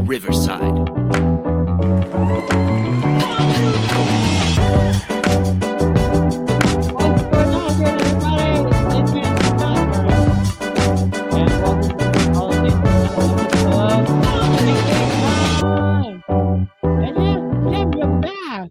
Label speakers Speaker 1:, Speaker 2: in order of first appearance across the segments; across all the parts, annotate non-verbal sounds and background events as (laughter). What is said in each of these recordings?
Speaker 1: Riverside.
Speaker 2: What's going on, good everybody? It's Adrian Scott, and welcome to Politics and Love. And yeah, Tim, you're back.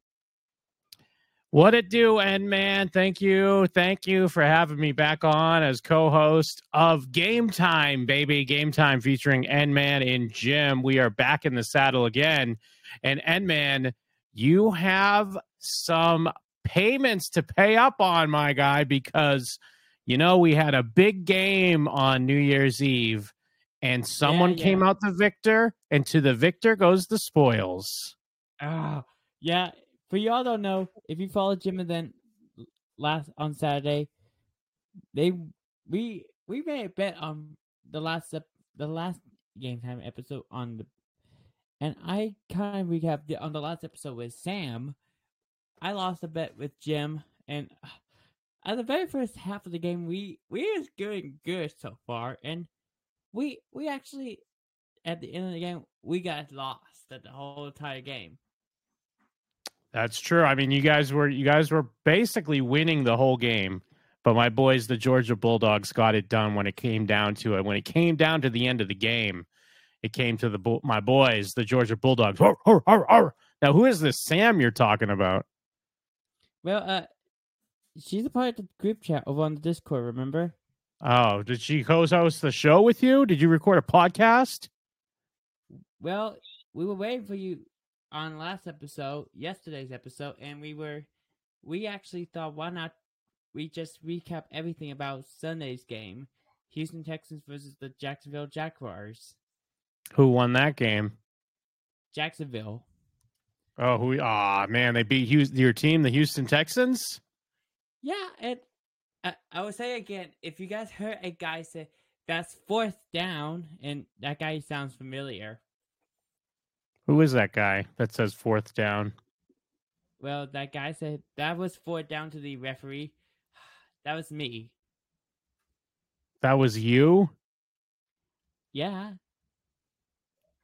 Speaker 3: What it do, and man, thank you. Thank you for having me back on as co host of Game Time, baby. Game Time featuring N Man and Jim. We are back in the saddle again. And N Man, you have some payments to pay up on, my guy, because, you know, we had a big game on New Year's Eve and someone
Speaker 2: yeah.
Speaker 3: came out the victor, and to the victor goes the spoils.
Speaker 2: Ah, yeah. For y'all don't know, if you follow Jim and then last on Saturday, they we we made a bet on the last ep- the last game time episode on the, and I kind of recapped the, on the last episode with Sam. I lost a bet with Jim, and (sighs) uh, at the very first half of the game, we we was doing good so far, and we we actually at the end of the game we got lost at the whole entire game.
Speaker 3: That's true. I mean, you guys were you guys were basically winning the whole game, but my boys, the Georgia Bulldogs, got it done when it came down to it. When it came down to the end of the game, it came to the Bull- my boys, the Georgia Bulldogs. Arr, arr, arr, arr. Now, who is this Sam you're talking about?
Speaker 2: Well, uh, she's a part of the group chat over on the Discord. Remember?
Speaker 3: Oh, did she co-host the show with you? Did you record a podcast?
Speaker 2: Well, we were waiting for you on last episode, yesterday's episode, and we were, we actually thought, why not? We just recap everything about Sunday's game, Houston Texans versus the Jacksonville Jaguars.
Speaker 3: Who won that game?
Speaker 2: Jacksonville.
Speaker 3: Oh, who? Ah, man, they beat Houston, your team, the Houston Texans.
Speaker 2: Yeah, and I, I will say again, if you guys heard a guy say that's fourth down, and that guy sounds familiar.
Speaker 3: Who is that guy that says fourth down?
Speaker 2: Well, that guy said that was four down to the referee. (sighs) That was me.
Speaker 3: That was you.
Speaker 2: Yeah,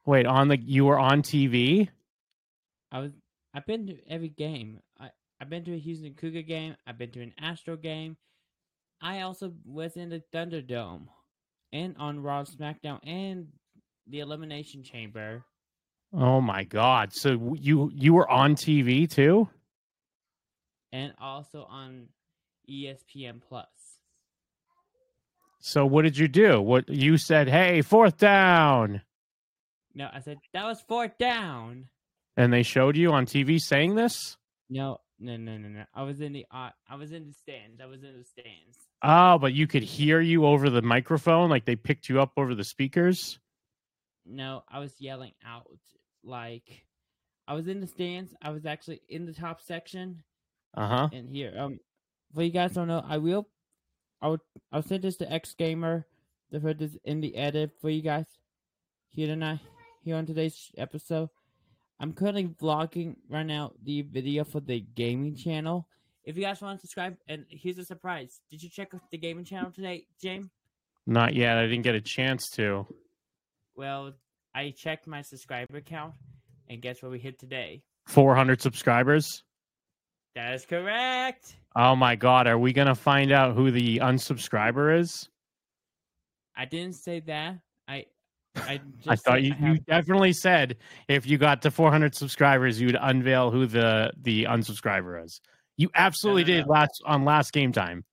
Speaker 3: Wait, on the you were on TV?
Speaker 2: I was. I've been to every game. I I've been to a Houston Cougar game. I've been to an Astro game. I also was in the Thunderdome, and on Raw, SmackDown, and the Elimination Chamber.
Speaker 3: Oh my god. So w- you you were on TV too?
Speaker 2: and also on E ESPN Plus.
Speaker 3: So what did you do? What you said, "Hey, fourth down."
Speaker 2: No, I said that was fourth down.
Speaker 3: And they showed you on TV saying this?
Speaker 2: No, no, no, no, no. I was in the uh, I was in the stands. I was in the stands.
Speaker 3: Oh, but you could hear you over the microphone like they picked you up over the speakers?
Speaker 2: No, I was yelling out like I was in the stands. I was actually in the top section
Speaker 3: Uh-huh.
Speaker 2: and here. Um, for you guys don't know, I will, I will, I'll send this to X Gamer. The put this in the edit for you guys here tonight. Here on today's sh- episode, I'm currently vlogging right now the video for the gaming channel. If you guys want to subscribe, and here's a surprise: Did you check the gaming channel today, James?
Speaker 3: Not yet. I didn't get a chance to.
Speaker 2: Well, I checked my subscriber count, and guess what we hit today?
Speaker 3: 400 subscribers?
Speaker 2: That is correct.
Speaker 3: Oh my god, are we going to find out who the unsubscriber is?
Speaker 2: I didn't say that. I, I, just
Speaker 3: (laughs) I thought
Speaker 2: said
Speaker 3: you,
Speaker 2: have-
Speaker 3: you definitely said if you got to 400 subscribers, you'd unveil who the the unsubscriber is. You absolutely
Speaker 2: no,
Speaker 3: did last on last game time.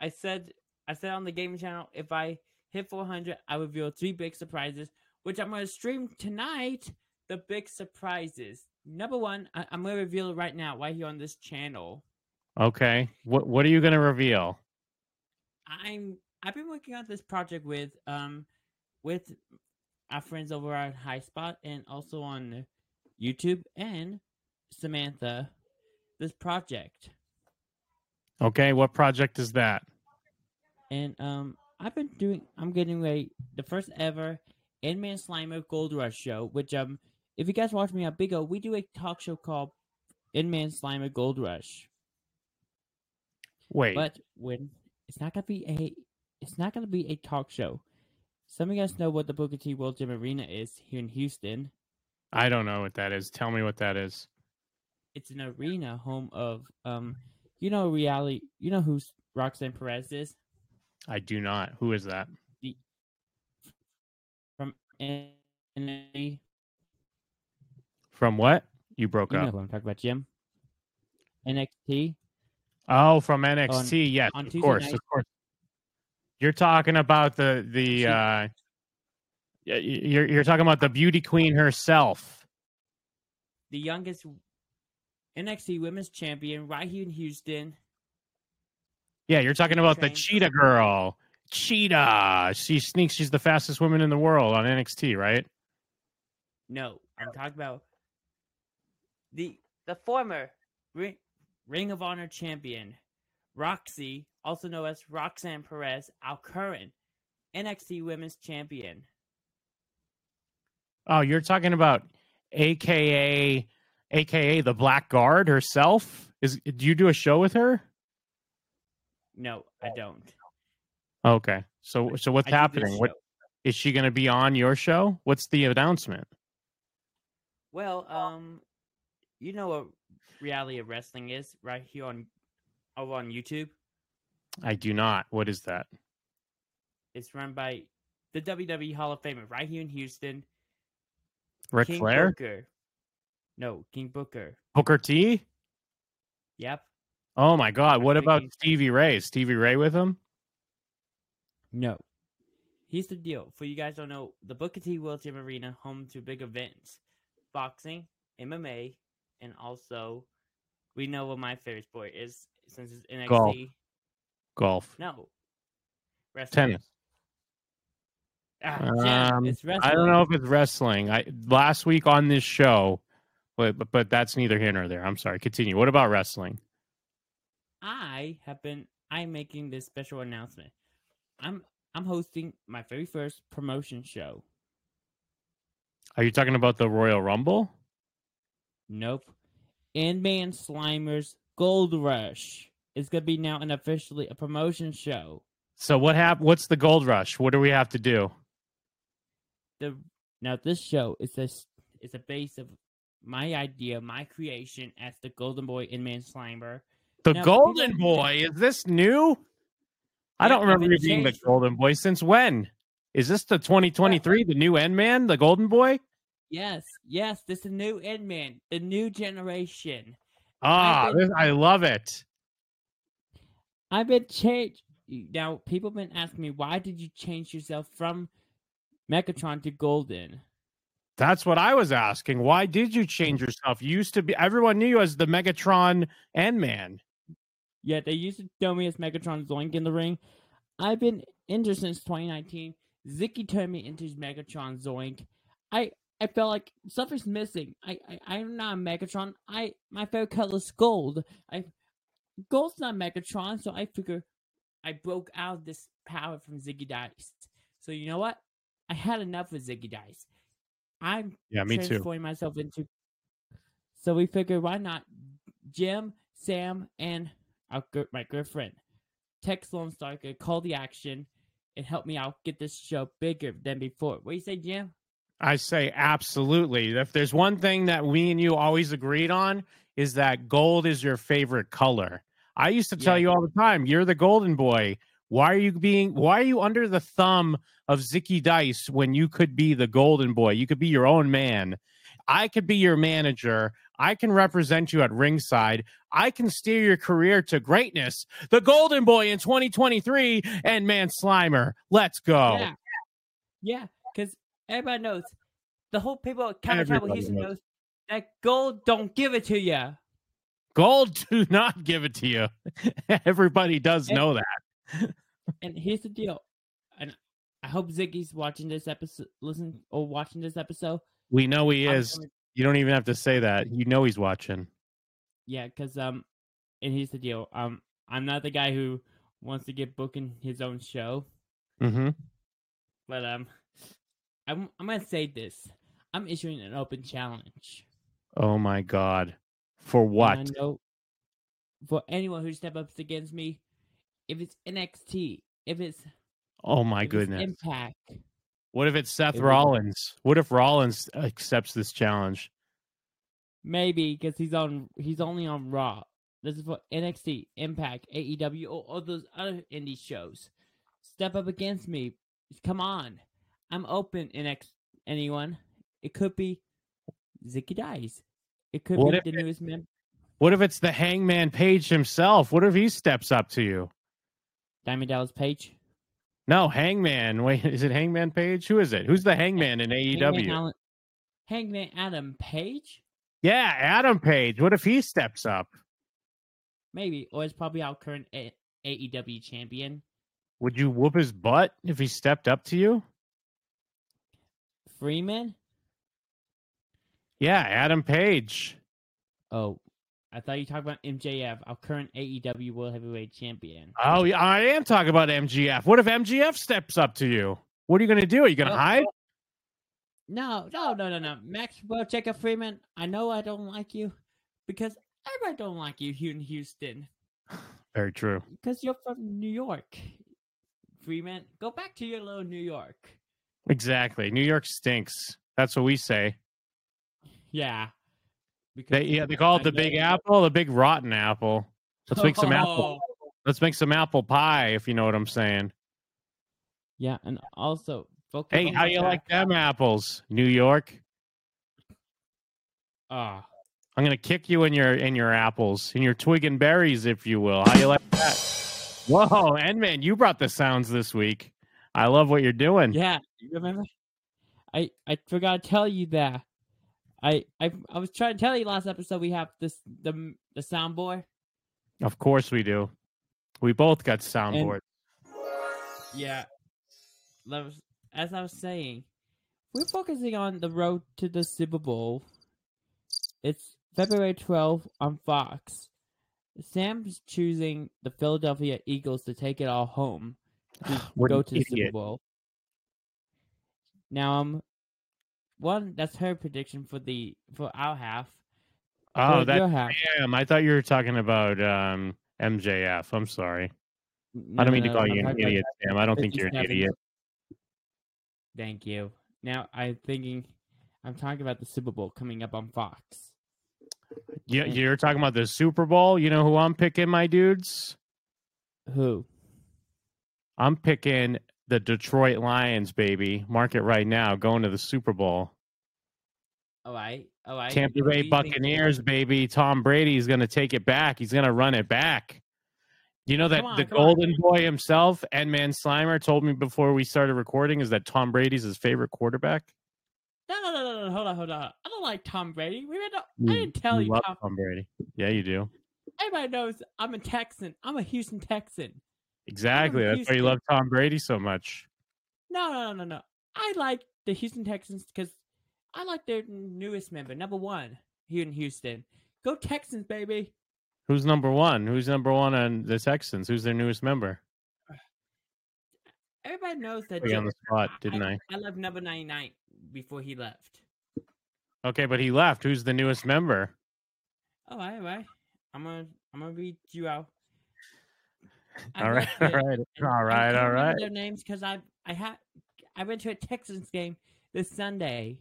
Speaker 2: I said I said on the gaming channel if I hit 400, I reveal three big surprises, which I'm gonna stream tonight. The big surprises. Number one, I- I'm gonna reveal it right now, right here on this channel.
Speaker 3: Okay, what what are you going to reveal?
Speaker 2: I'm I've been working on this project with um with our friends over at High Spot and also on YouTube and Samantha. This project.
Speaker 3: Okay, what project is that?
Speaker 2: And um, I've been doing. I'm getting ready the first ever Endman Slimer Gold Rush show. Which um, if you guys watch me on Big O, we do a talk show called Endman Slimer Gold Rush.
Speaker 3: Wait,
Speaker 2: But when it's not gonna be a, it's not gonna be a talk show. Some of you guys know what the Booker T World Gym Arena is here in Houston.
Speaker 3: I don't know what that is. Tell me what that is.
Speaker 2: It's an arena home of um, you know reality. You know who Roxanne Perez is
Speaker 3: I do not. Who is that?
Speaker 2: from NA.
Speaker 3: From what? You broke
Speaker 2: You know
Speaker 3: up.
Speaker 2: who I'm talking about, Jim. NXT.
Speaker 3: Oh, from NXT. yes,
Speaker 2: on
Speaker 3: of
Speaker 2: Tuesday
Speaker 3: course,
Speaker 2: night-
Speaker 3: of course. You're talking about the the
Speaker 2: She-
Speaker 3: uh, y- y- you're you're talking about the beauty queen herself.
Speaker 2: the youngest NXT Women's Champion right here in Houston.
Speaker 3: Yeah, you're talking about the
Speaker 2: Train.
Speaker 3: Cheetah Girl. Cheetah. She sneaks. She's the fastest woman in the world on NXT, right?
Speaker 2: No, I'm talking about the Oh. the former Ring, Ring of Honor champion, Roxy, also known as Roxanne Perez, our current NXT Women's Champion.
Speaker 3: Oh, you're talking about AKA AKA the Black Guard herself. Is do you do a show with her?
Speaker 2: No, I don't.
Speaker 3: Okay. So so what's
Speaker 2: I do this
Speaker 3: happening? What
Speaker 2: show.
Speaker 3: is she going to be on your show? What's the announcement?
Speaker 2: Well, um, you know what reality of wrestling is right here on over on YouTube.
Speaker 3: I do not. What is that?
Speaker 2: It's run by the WWE Hall of Famer right here in Houston.
Speaker 3: Ric
Speaker 2: King
Speaker 3: Flair?
Speaker 2: Booker. No, King Booker.
Speaker 3: Booker T?
Speaker 2: Yep.
Speaker 3: Oh my God. What about
Speaker 2: thinking-
Speaker 3: Stevie Ray? Is Stevie Ray with him?
Speaker 2: No. Here's the deal. For you guys don't know, the Booker T Wheelchair Arena home to big events. Boxing, MMA, and also we know what my favorite sport is since it's NXT.
Speaker 3: Golf. Golf.
Speaker 2: No. Wrestling.
Speaker 3: Tennis.
Speaker 2: Ah, Jim,
Speaker 3: Um,
Speaker 2: it's wrestling.
Speaker 3: I don't know if it's wrestling. I last week on this show, but but, but that's neither here nor there. I'm sorry. Continue. What about wrestling?
Speaker 2: I have been I'm making this special announcement. I'm I'm hosting my very first promotion show.
Speaker 3: Are you talking about the Royal Rumble?
Speaker 2: Nope. Ant-Man Slimer's Gold Rush is going to be now an officially a promotion show.
Speaker 3: So what hap- What's the Gold Rush? What do we have to do?
Speaker 2: The now this show is a s- is a base of my idea, my creation as the Golden Boy Ant-Man Slimer.
Speaker 3: The
Speaker 2: Now, people-
Speaker 3: Golden Boy is this new? I
Speaker 2: Yeah,
Speaker 3: don't remember
Speaker 2: I've
Speaker 3: you
Speaker 2: been
Speaker 3: being the
Speaker 2: changed.
Speaker 3: Golden Boy since when? Is this the 2023, the new End Man, the Golden Boy?
Speaker 2: Yes, yes, this is new Ant-Man, the new generation.
Speaker 3: Ah,
Speaker 2: been-
Speaker 3: this- I love it.
Speaker 2: I've been changed. Now people been asking me why did you change yourself from Megatron to Golden?
Speaker 3: That's what I was asking. Why did you change yourself? You used to be everyone knew you as the Megatron End Man.
Speaker 2: Yeah, they used to tell me as Megatron Zoink in the ring. I've been injured since 2019. Zicky turned me into Megatron Zoink. I I felt like something's missing. I, I I'm not Megatron. I my favorite color is gold. I gold's not Megatron, so I figure I broke out of this power from Ziggy Dice. So you know what? I had enough with Ziggy Dice. I'm
Speaker 3: Yeah, me too.
Speaker 2: transforming myself into. So we figured, why not Jim, Sam, and our good, my good friend, Tex Lone Star could call the action and help me out get this show bigger than before. What do you say, Jim?
Speaker 3: I say absolutely. If there's one thing that we and you always agreed on is that gold is your favorite color. I used to tell
Speaker 2: Yeah.
Speaker 3: you all the time, you're the golden boy. Why are you being why are you under the thumb of Zicky Dice when you could be the golden boy? You could be your own man. I could be your manager. I can represent you at ringside. I can steer your career to greatness. The golden boy in 2023 and man Slimer. Let's go.
Speaker 2: Yeah, yeah, because everybody knows the whole people at Counter Travel
Speaker 3: Everybody
Speaker 2: Houston
Speaker 3: knows.
Speaker 2: knows that gold don't give it to ya.
Speaker 3: Gold do not give it to you. (laughs) Everybody does
Speaker 2: And-
Speaker 3: know that.
Speaker 2: And here's the deal, and I hope Ziggy's watching this episode, listen or watching this episode.
Speaker 3: We know he
Speaker 2: I'm
Speaker 3: is.
Speaker 2: gonna
Speaker 3: You don't even have to say that. You know he's watching.
Speaker 2: Yeah, because um, and here's the deal. Um, I'm not the guy who wants to get booking his own show, Mm-hmm.
Speaker 3: hmm
Speaker 2: but um, I'm I'm gonna say this. I'm issuing an open challenge.
Speaker 3: Oh my god. For
Speaker 2: and
Speaker 3: what?
Speaker 2: I know for anyone who step up against me, if it's NXT, if it's
Speaker 3: Oh my
Speaker 2: if it's
Speaker 3: goodness.
Speaker 2: Impact,
Speaker 3: What if it's Seth
Speaker 2: It would-
Speaker 3: Rollins? What if Rollins accepts this challenge?
Speaker 2: Maybe because he's on. He's only on Raw. This is for NXT, Impact, AEW, or, or those other indie shows. Step up against me. Come on, I'm open. NX anyone. It could be Zicky Dice. It could
Speaker 3: What
Speaker 2: be
Speaker 3: if
Speaker 2: the newest member.
Speaker 3: What if it's the Hangman Page himself? What if he steps up to you?
Speaker 2: Diamond Dallas Page.
Speaker 3: No, Hangman. (laughs) Wait, is it Hangman Page? Who is it? Who's the Hangman in E
Speaker 2: Hangman,
Speaker 3: AEW?
Speaker 2: Allen, Hangman Adam Page.
Speaker 3: Yeah, Adam Page. What if he steps up?
Speaker 2: Maybe, or it's probably our current A- AEW champion.
Speaker 3: Would you whoop his butt if he stepped up to you?
Speaker 2: Freeman?
Speaker 3: Yeah, Adam Page.
Speaker 2: Oh, I thought you talked about MJF, our current AEW World Heavyweight Champion.
Speaker 3: Oh, yeah, I am talking about MGF. What if MGF steps up to you? What are you going to do? Are you going to
Speaker 2: Oh.
Speaker 3: hide?
Speaker 2: No, no, no, no, no. Maxwell Jacob Freeman, I know I don't like you because everybody don't like you here in Houston
Speaker 3: Very true.
Speaker 2: because you're from New York. Freeman, go back to your little New York.
Speaker 3: Exactly. New York stinks. That's what we say.
Speaker 2: Yeah. Because
Speaker 3: They, yeah, they call it
Speaker 2: I
Speaker 3: the
Speaker 2: know
Speaker 3: Big
Speaker 2: you-
Speaker 3: Apple, the Big Rotten Apple. Let's make some apple.
Speaker 2: Oh.
Speaker 3: Let's make some apple pie, if you know what I'm saying.
Speaker 2: Yeah, and also focus
Speaker 3: Hey,
Speaker 2: on
Speaker 3: how
Speaker 2: the
Speaker 3: you
Speaker 2: fact-
Speaker 3: like them apples, New York?
Speaker 2: Ah.
Speaker 3: I'm gonna kick you in your in your apples, in your twig and berries, if you will. How you like that? Whoa, Endman, you brought the sounds this week. I love what you're doing.
Speaker 2: Yeah, you remember? I I forgot to tell you that. I I I was trying to tell you last episode we have this the the soundboard.
Speaker 3: Of course we do. We both got soundboard.
Speaker 2: Yeah. That was- as I was saying, we're focusing on the road to the Super Bowl. It's February 12th on Fox. Sam's choosing the Philadelphia Eagles to take it all home to
Speaker 3: (sighs) What
Speaker 2: go
Speaker 3: an
Speaker 2: to the Super
Speaker 3: idiot.
Speaker 2: Bowl. Now, um, one that's her prediction for the for our half.
Speaker 3: Oh,
Speaker 2: for
Speaker 3: that
Speaker 2: your half.
Speaker 3: damn! I thought you were talking about um, MJF. I'm sorry.
Speaker 2: No,
Speaker 3: I don't mean
Speaker 2: no,
Speaker 3: to
Speaker 2: no,
Speaker 3: call
Speaker 2: I'm
Speaker 3: you an
Speaker 2: talking about
Speaker 3: idiot, Sam. I don't think you're an
Speaker 2: 57.
Speaker 3: idiot.
Speaker 2: Thank you. Now I'm thinking, I'm talking about the Super Bowl coming up on Fox.
Speaker 3: You,
Speaker 2: Mm.
Speaker 3: you're talking about the Super Bowl. You know who I'm picking, my dudes?
Speaker 2: Who?
Speaker 3: I'm picking the Detroit Lions, baby. Mark it right now. Going to the Super Bowl.
Speaker 2: All right, all right.
Speaker 3: Tampa
Speaker 2: Who do
Speaker 3: Bay
Speaker 2: you think-
Speaker 3: Buccaneers, baby. Tom Brady is going to take it back. He's going to run it back. You know that
Speaker 2: Come on,
Speaker 3: the
Speaker 2: come on.
Speaker 3: golden boy himself, and Man Slimer, told me before we started recording is that Tom Brady's his favorite quarterback.
Speaker 2: No, no, no, no, no. Hold on, hold on. I don't like Tom Brady. We don't,
Speaker 3: You-
Speaker 2: I didn't tell you.
Speaker 3: love
Speaker 2: Tom,
Speaker 3: Tom Brady. Yeah, you do.
Speaker 2: everybody knows I'm a Texan. I'm a Houston Texan.
Speaker 3: Exactly. That's why you
Speaker 2: Houston.
Speaker 3: love Tom Brady so much.
Speaker 2: No, no, no, no, no. I like the Houston Texans because I like their newest member, number one here in Houston. Go Texans, baby.
Speaker 3: Who's number one? Who's number one on the Texans? Who's their newest member?
Speaker 2: Everybody knows that.
Speaker 3: Put you on the spot, didn't I?
Speaker 2: I left number 99 before he left.
Speaker 3: Okay, but he left. Who's the newest member?
Speaker 2: All right, all right. I'm gonna I'm gonna read you
Speaker 3: (laughs)
Speaker 2: out.
Speaker 3: All right, all (laughs) right, all right, all right.
Speaker 2: Their names because I I had I went to a Texans game this Sunday.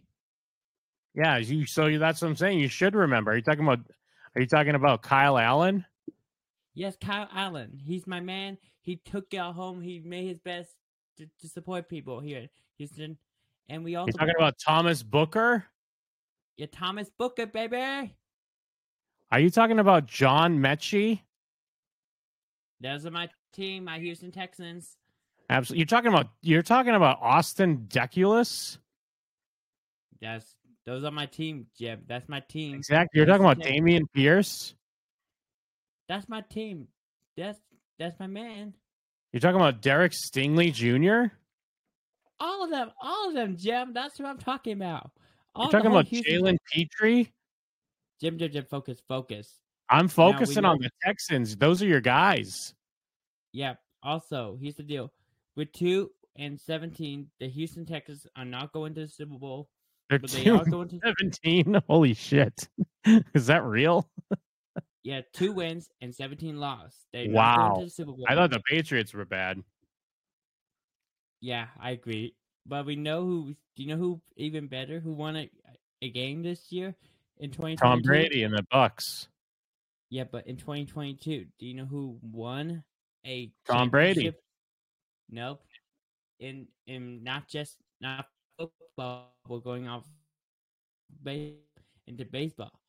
Speaker 3: Yeah, you. So you, that's what I'm saying. You should remember. Are you talking about? Are you talking about Kyle Allen?
Speaker 2: Yes, Kyle Allen. He's my man. He took y'all home. He made his best to, to support people here in Houston, and we also
Speaker 3: You're talking about Thomas Booker?
Speaker 2: yeah Thomas Booker, baby.
Speaker 3: Are you talking about John Mechie?
Speaker 2: Those are my team, my Houston Texans.
Speaker 3: Absolutely. You're talking about you're talking about Austin Deculus?
Speaker 2: That's those are my team, Jeb. That's my team.
Speaker 3: Exactly. You're talking about
Speaker 2: Houston Texans.
Speaker 3: Damian Pierce?
Speaker 2: That's my team. That's that's my man.
Speaker 3: You're talking about Derek Stingley Jr.?
Speaker 2: All of them, all of them, Jim. That's what I'm talking about. All
Speaker 3: You're
Speaker 2: the
Speaker 3: talking
Speaker 2: whole
Speaker 3: about
Speaker 2: Houston-
Speaker 3: Jalen Petrie?
Speaker 2: Jim, Jim, Jim. Focus, focus.
Speaker 3: I'm
Speaker 2: we
Speaker 3: focusing on
Speaker 2: know-
Speaker 3: the Texans. Those are your guys.
Speaker 2: Yep. Also, here's the deal: with two and seventeen, the Houston Texans are not going to the Super Bowl,
Speaker 3: They're
Speaker 2: but they are
Speaker 3: two
Speaker 2: going to
Speaker 3: seventeen. (laughs) Holy shit. Is that real?
Speaker 2: yeah two wins and seventeen loss. They not going
Speaker 3: Wow.
Speaker 2: to the Super Bowl.
Speaker 3: I thought the Patriots were bad.
Speaker 2: yeah, I agree. But we know who. Do you know who even better? Who won a, a game this year in twenty?
Speaker 3: Tom Brady and the Bucks.
Speaker 2: Yeah, but in twenty twenty two, do you know who won a
Speaker 3: Tom Brady.
Speaker 2: championship? Nope. In in not just not football, we're going off base into baseball.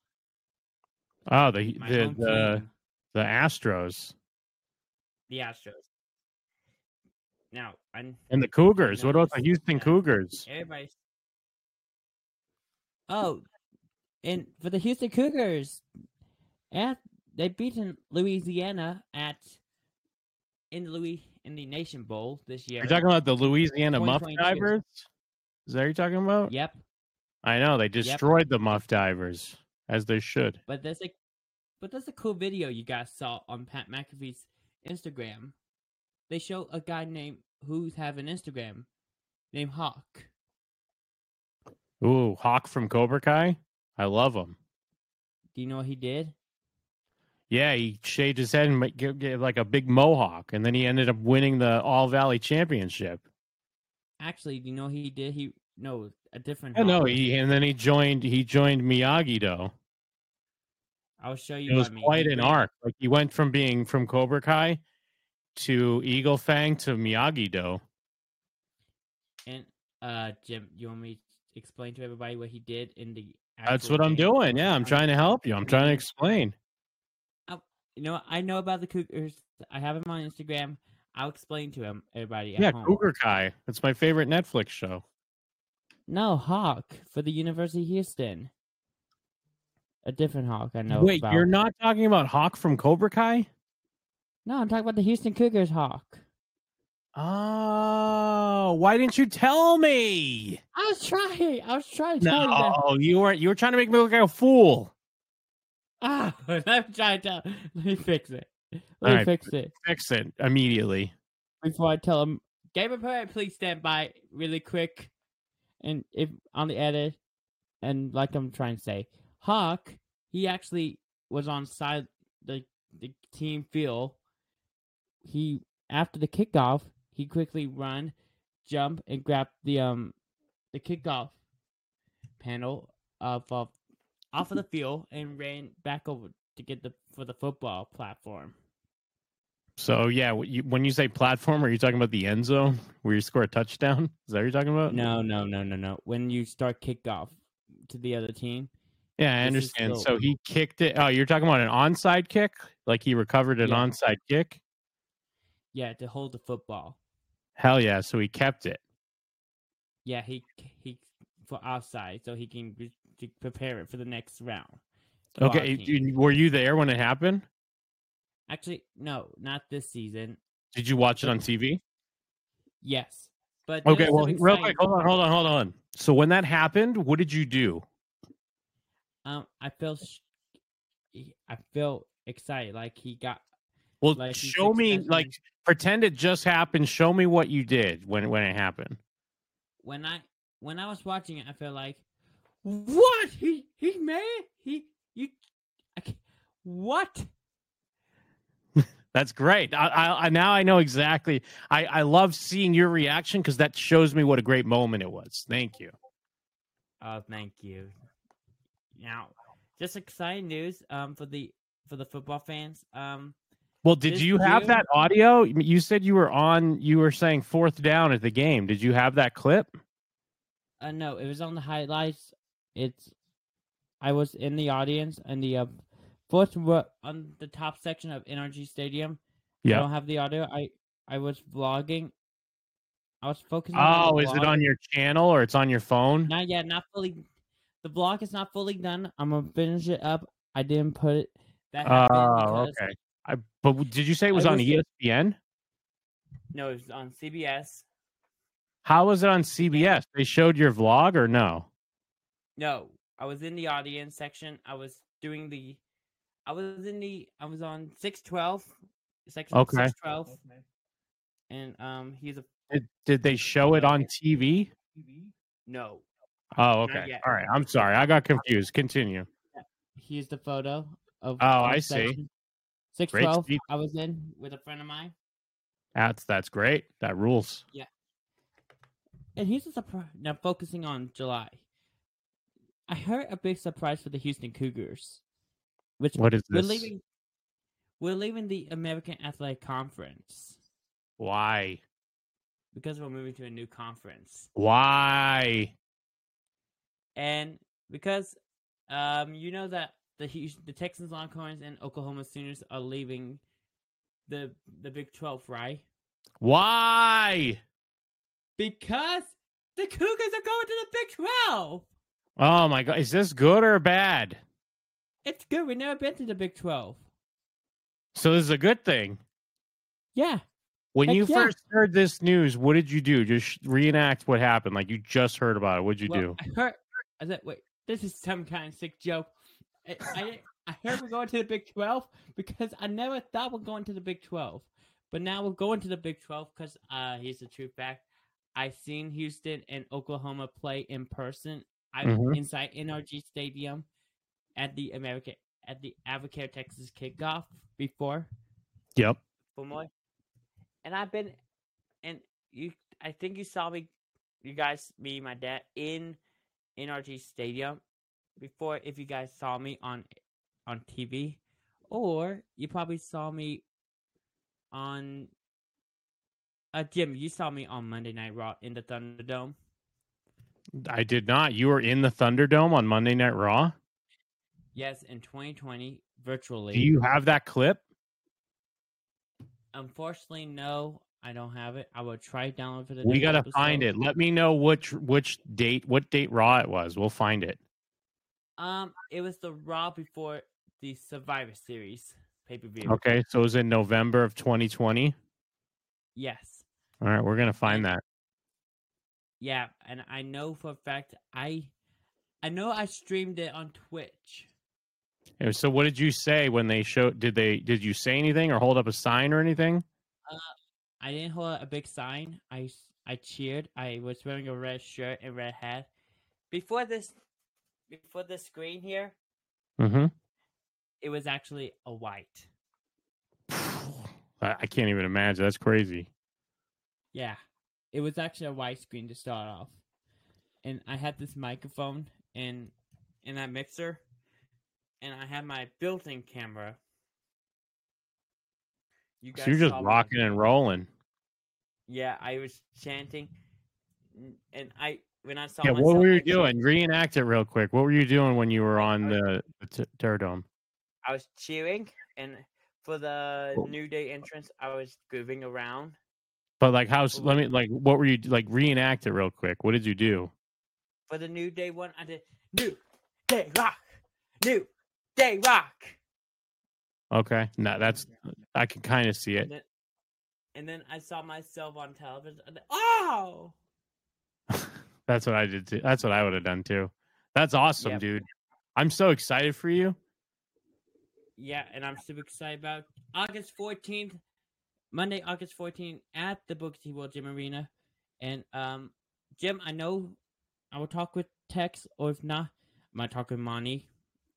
Speaker 3: Oh, the
Speaker 2: My
Speaker 3: the
Speaker 2: home
Speaker 3: the,
Speaker 2: team,
Speaker 3: the Astros
Speaker 2: the Astros. Now, I'm,
Speaker 3: and the Cougars. What about the
Speaker 2: Nice.
Speaker 3: Houston
Speaker 2: Yeah.
Speaker 3: Cougars?
Speaker 2: everybody's. Oh, and for the Houston Cougars, at they beaten Louisiana at in the Louis in the Nation Bowl this year.
Speaker 3: You're talking about the Louisiana Muff
Speaker 2: 2022.
Speaker 3: Divers. Is that what you're talking about?
Speaker 2: Yep,
Speaker 3: I know they destroyed the Muff Divers as they should.
Speaker 2: but that's a but that's a cool video you guys saw on Pat McAfee's Instagram. They show a guy named who's have an Instagram named Hawk.
Speaker 3: Ooh, Hawk from Cobra Kai. I love him.
Speaker 2: Do you know what he did?
Speaker 3: Yeah, he shaved his head and ma- gave, gave like a big mohawk, and then he ended up winning the All Valley Championship.
Speaker 2: Actually, do you know what he did? He no a different.
Speaker 3: I know
Speaker 2: Hawk.
Speaker 3: he, and then he joined. He joined Miyagi Do.
Speaker 2: I'll show you.
Speaker 3: It was
Speaker 2: what I mean.
Speaker 3: quite
Speaker 2: He
Speaker 3: an
Speaker 2: went-
Speaker 3: arc. Like he went from being from Cobra Kai to Eagle Fang to Miyagi Do.
Speaker 2: And uh, Jim, you want me to explain to everybody what he did in the?
Speaker 3: That's
Speaker 2: actual
Speaker 3: what I'm
Speaker 2: game?
Speaker 3: doing. Yeah, I'm trying to help you. I'm trying to explain.
Speaker 2: You know, I know about the Cougars. I have him on Instagram. I'll explain to him everybody. At
Speaker 3: Yeah,
Speaker 2: home.
Speaker 3: Cougar Kai. It's my favorite Netflix show.
Speaker 2: No, Hawk for the University of Houston. A different Hawk, I know.
Speaker 3: Wait,
Speaker 2: about.
Speaker 3: you're not talking about Hawk from Cobra Kai?
Speaker 2: No, I'm talking about the Houston Cougars Hawk.
Speaker 3: Oh, why didn't you tell me?
Speaker 2: I was trying. I was trying to tell you.
Speaker 3: (laughs) No, you weren't. You were trying to make me look like a fool.
Speaker 2: (laughs) Ah, (laughs) I'm trying to. Let me fix it. Let me
Speaker 3: right.
Speaker 2: fix it
Speaker 3: Fix it immediately.
Speaker 2: before I tell him. Game of Parade, please stand by really quick, and if on the edit, and like I'm trying to say, Hawk, he actually was on side the the team field. He after the kickoff, he quickly run, jump, and grab the um the kickoff panel of uh, off of the field and ran back over to get the for the football platform.
Speaker 3: So yeah, wh- you- when you say platform, are you talking about the end zone where you score a touchdown? Is that what you're talking about?
Speaker 2: No, no, no, no, no. When you start kickoff to the other team,
Speaker 3: Yeah, I
Speaker 2: This is
Speaker 3: understand.
Speaker 2: still-
Speaker 3: So he kicked it. Oh, you're talking about an onside kick? Like he recovered an
Speaker 2: Yeah.
Speaker 3: onside kick?
Speaker 2: yeah, to hold the football.
Speaker 3: Hell yeah! So he kept it.
Speaker 2: Yeah, he he for outside so he can re- to prepare it for the next round. for our
Speaker 3: Okay,
Speaker 2: team.
Speaker 3: you- were you there when it happened?
Speaker 2: Actually, no, not this season.
Speaker 3: Did you watch it on TV?
Speaker 2: Yes, but there
Speaker 3: Okay,
Speaker 2: was
Speaker 3: well,
Speaker 2: some
Speaker 3: real quick,
Speaker 2: exciting-
Speaker 3: hold on, hold on, hold on. So when that happened, what did you do?
Speaker 2: Um, I felt sh- I felt excited, like he got
Speaker 3: Well,
Speaker 2: Like, he
Speaker 3: show
Speaker 2: takes
Speaker 3: me,
Speaker 2: that
Speaker 3: like,
Speaker 2: and-
Speaker 3: pretend it just happened. Show me what you did when when it happened.
Speaker 2: when I when I was watching it, I felt like, what he he made he you, I can't, what
Speaker 3: That's great. I, I, I now I know exactly. I I love seeing your reaction because that shows me what a great moment it was. Thank you.
Speaker 2: Oh, thank you. Now, just exciting news um for the for the football fans. Um
Speaker 3: Well, did
Speaker 2: This
Speaker 3: you have
Speaker 2: year-
Speaker 3: that audio? You said you were on. You were saying fourth down at the game. Did you have that clip?
Speaker 2: uh no, it was on the highlights. It's I was in the audience in the uh, fourth row on the top section of NRG Stadium. I
Speaker 3: Yeah.
Speaker 2: don't have the audio. I I was vlogging. I was focusing on
Speaker 3: Oh,
Speaker 2: the
Speaker 3: is it
Speaker 2: vlog.
Speaker 3: on your channel or it's on your phone?
Speaker 2: Not yet, not fully the vlog is not fully done. I'm gonna finish it up. I didn't put it that happened
Speaker 3: Oh,
Speaker 2: because-
Speaker 3: okay. I, but w- did you say it was
Speaker 2: I
Speaker 3: on E
Speaker 2: was-
Speaker 3: ESPN?
Speaker 2: No, it was on CBS.
Speaker 3: How was it on CBS? They showed your vlog or no?
Speaker 2: No, I was in the audience section. I was doing the, I was in the, I was on six twelve, section
Speaker 3: Okay.
Speaker 2: six twelve, and um, he's a
Speaker 3: Did, did they show it on TV?
Speaker 2: no,
Speaker 3: Oh,
Speaker 2: Not
Speaker 3: okay.
Speaker 2: yet.
Speaker 3: All right. I'm sorry. I got confused. Continue.
Speaker 2: he's the photo of.
Speaker 3: Oh, I see.
Speaker 2: Six twelve.
Speaker 3: speech.
Speaker 2: I was in with a friend of mine.
Speaker 3: That's that's great. That rules.
Speaker 2: and here's a surprise. Now focusing on July, I heard a big surprise for the Houston Cougars, which
Speaker 3: What is
Speaker 2: we're
Speaker 3: this?
Speaker 2: leaving. We're leaving the American Athletic Conference
Speaker 3: Why?
Speaker 2: because we're moving to a new conference,
Speaker 3: Why?
Speaker 2: and because um, you know that the Hous- the Texans Longhorns and Oklahoma Sooners are leaving the the Big Twelve, right?
Speaker 3: Why?
Speaker 2: Because the Cougars are going to the Big Twelve.
Speaker 3: Oh my god, is this good or bad?
Speaker 2: It's good. We've never been to the Big Twelve.
Speaker 3: So this is a good thing.
Speaker 2: Yeah.
Speaker 3: When
Speaker 2: Heck
Speaker 3: you
Speaker 2: yeah.
Speaker 3: first heard this news, what did you do? Just sh- reenact what happened. Like you just heard about it. What'd you
Speaker 2: well,
Speaker 3: do?
Speaker 2: I heard. I said, wait, this is some kind of sick joke. I, I, didn't- I heard we're going to the Big 12 because I never thought we're going to the Big 12. But now we're going to the Big 12 because uh, here's the true fact. I seen Houston and Oklahoma play in person. I
Speaker 3: Mhm.
Speaker 2: inside NRG Stadium at the American at the Avocare Texas kickoff before
Speaker 3: Yep.
Speaker 2: for more. And I've been, and you, I think you saw me, you guys, me, my dad, in NRG Stadium before. If you guys saw me on on TV, or you probably saw me on. Uh, Jim, you saw me on Monday Night Raw in the Thunderdome.
Speaker 3: I did not. You were in the Thunderdome on Monday Night Raw.
Speaker 2: Yes, in 2020, virtually.
Speaker 3: Do you have that clip?
Speaker 2: Unfortunately, no, I don't have it. I will try download for the.
Speaker 3: We
Speaker 2: next
Speaker 3: gotta find
Speaker 2: episode.
Speaker 3: it. Let me know which which date what date Raw it was. We'll find it.
Speaker 2: Um, it was the Raw before the Survivor Series pay per view.
Speaker 3: Okay, so it was in November of 2020.
Speaker 2: Yes.
Speaker 3: All right, we're gonna find that.
Speaker 2: Yeah, and I know for a fact I, I know I streamed it on Twitch.
Speaker 3: Yeah, So what did you say when they showed? Did they did you say anything or hold up a sign or anything?
Speaker 2: I didn't hold out a big sign. I s- I cheered. I was wearing a red shirt and red hat. Before this, before the screen here,
Speaker 3: Mm-hmm.
Speaker 2: it was actually a white.
Speaker 3: I I can't even imagine. That's crazy.
Speaker 2: Yeah, it was actually a white screen to start off, and I had this microphone and and that mixer, and I had my built-in camera. You
Speaker 3: So you're just
Speaker 2: saw me.
Speaker 3: rocking and rolling.
Speaker 2: Yeah, I was chanting, n- and I when I saw.
Speaker 3: Yeah. What
Speaker 2: myself,
Speaker 3: were
Speaker 2: I
Speaker 3: you
Speaker 2: was-
Speaker 3: doing? Reenact it real quick. What were you doing when you were
Speaker 2: I-
Speaker 3: on
Speaker 2: I-
Speaker 3: the, the t- Terradome?
Speaker 2: I was cheering, and for the
Speaker 3: Well-
Speaker 2: new day entrance, I was grooving around.
Speaker 3: But like, how's
Speaker 2: Well,
Speaker 3: let me like, what were you like? Reenact it real quick. What did you do?
Speaker 2: For the new day one, I did new day rock, new day rock.
Speaker 3: Okay, no, that's I can kind of see it.
Speaker 2: And then, and then I saw myself on television. and then- oh,
Speaker 3: (laughs) That's what I did too. That's what I would have done too. That's awesome,
Speaker 2: Yep.
Speaker 3: dude. I'm so excited for you.
Speaker 2: yeah, and I'm super excited about August 14th, Monday, August 14th at the Booker T World Gym Arena. And um, Jim, I know I will talk with Tex, or if not, I might talk with Monty.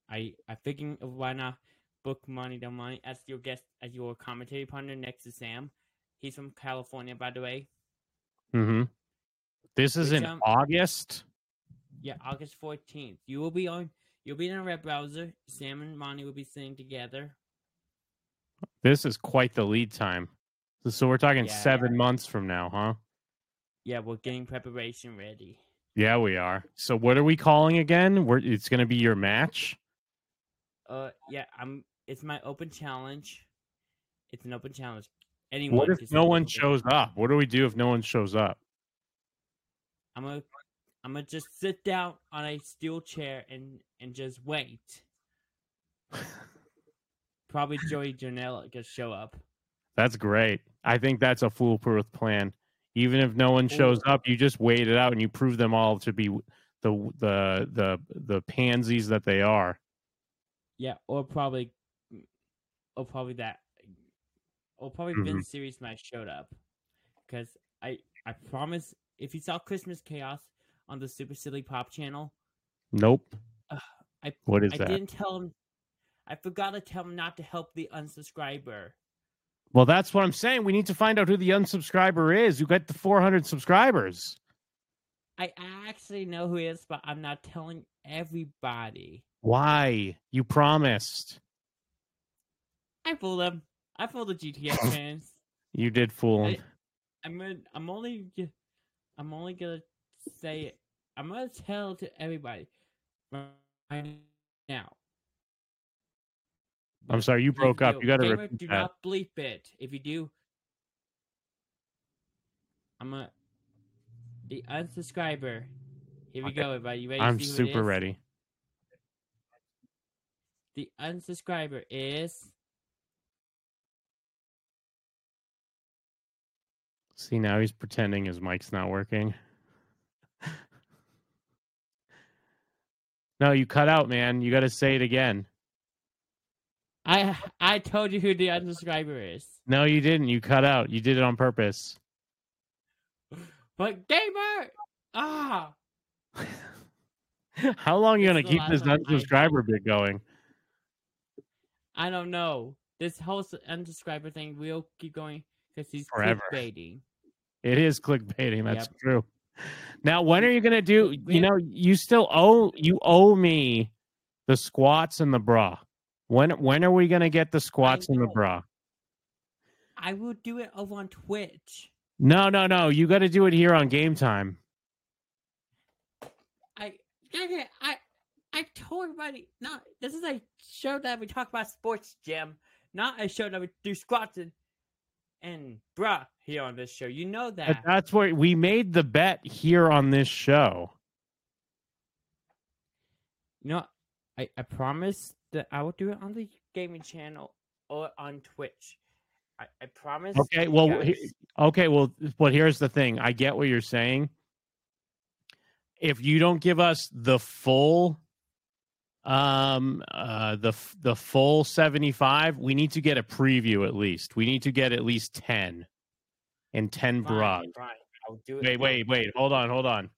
Speaker 2: I I thinking of why not book Monty Del Monty as your guest, as your commentary partner next to Sam. He's from California, by the way.
Speaker 3: Mm-hmm. This is
Speaker 2: Which,
Speaker 3: in
Speaker 2: um,
Speaker 3: August.
Speaker 2: Yeah, August fourteenth. You will be on. You'll be in a red browser. Sam and Monty will be sitting together.
Speaker 3: This is quite the lead time. So we're talking
Speaker 2: Yeah,
Speaker 3: seven months from now, huh?
Speaker 2: Yeah, we're getting preparation ready.
Speaker 3: Yeah, we are. So what are we calling again? We're, it's going to be your match.
Speaker 2: Uh, yeah, I'm. It's my open challenge. It's an open challenge. Anyone.
Speaker 3: What if
Speaker 2: can
Speaker 3: no
Speaker 2: submit
Speaker 3: one
Speaker 2: open-
Speaker 3: shows up? What do we do if no one shows up? (laughs)
Speaker 2: I'm gonna. I'm gonna just sit down on a steel chair and and just wait. Probably Joey Janela could show up.
Speaker 3: That's great. I think that's a foolproof plan. Even if no one shows
Speaker 2: Ooh.
Speaker 3: up, you just wait it out and you prove them all to be the the the the pansies that they are.
Speaker 2: Yeah, or probably, or probably that, or probably
Speaker 3: Mhm.
Speaker 2: Vince series might showed up, because I I promise if you saw Christmas Chaos on the Super Silly Pop channel,
Speaker 3: Nope.
Speaker 2: Ugh, I-
Speaker 3: what is
Speaker 2: I
Speaker 3: that?
Speaker 2: didn't tell him, I forgot to tell him not to help the unsubscriber.
Speaker 3: Well, that's what I'm saying. We need to find out who the unsubscriber is. Who got the 400 subscribers?
Speaker 2: I actually know who it is, but I'm not telling everybody.
Speaker 3: Why? You promised.
Speaker 2: I fooled them. I fooled the GTS fans.
Speaker 3: You did fool 'em.
Speaker 2: I- I'm gonna, I'm only ju- I'm only gonna say it. I'm gonna tell to everybody right now.
Speaker 3: I'm sorry, you
Speaker 2: Please
Speaker 3: broke up.
Speaker 2: do.
Speaker 3: You got to
Speaker 2: Taylor,
Speaker 3: repeat
Speaker 2: Do
Speaker 3: that.
Speaker 2: not bleep it. If you do, I'm a the unsubscriber. Here we
Speaker 3: Okay.
Speaker 2: go, everybody. You ready? to
Speaker 3: I'm
Speaker 2: see who it
Speaker 3: super
Speaker 2: is?
Speaker 3: ready.
Speaker 2: The unsubscriber is
Speaker 3: See, now he's pretending his mic's not working. no, you cut out, man. You got to say it again.
Speaker 2: I. I told you who the unsubscriber is.
Speaker 3: No, you didn't. You cut out. You did it on
Speaker 2: (laughs)
Speaker 3: purpose.
Speaker 2: But gamer, ah,
Speaker 3: How long
Speaker 2: This
Speaker 3: are you going
Speaker 2: is the
Speaker 3: to keep
Speaker 2: last
Speaker 3: this
Speaker 2: one. I-
Speaker 3: unsubscriber bit going?
Speaker 2: I don't know. This whole s- unsubscriber thing will keep going because he's
Speaker 3: Forever.
Speaker 2: clickbaiting.
Speaker 3: It is clickbaiting. That's
Speaker 2: Yep.
Speaker 3: true. Now, when are you going to do?
Speaker 2: We
Speaker 3: You
Speaker 2: have-
Speaker 3: know, you still owe you owe me the squats and the bra. When when are we going to get the squats and the
Speaker 2: know.
Speaker 3: bra?
Speaker 2: I will do it over on Twitch.
Speaker 3: No, no, no. You got to do it here on game time.
Speaker 2: I dang it, I I told everybody not this is a show that we talk about sports, Jim. Not a show that we do squats and, and bruh here on this show. You know
Speaker 3: But
Speaker 2: that.
Speaker 3: that's where we made the bet here on this show.
Speaker 2: You know, I, I promise that I will do it on the gaming channel or on Twitch. I, I promise.
Speaker 3: Okay,
Speaker 2: you
Speaker 3: well,
Speaker 2: guys.
Speaker 3: he- Okay, well, but here's the thing. I get what you're saying. If you don't give us the full, um, uh, the f- the full seventy five, we need to get a preview at least. We need to get at least ten, and ten
Speaker 2: Fine,
Speaker 3: bras.
Speaker 2: fine, I'll do it.
Speaker 3: Wait,
Speaker 2: No,
Speaker 3: wait, wait. Hold on, hold on,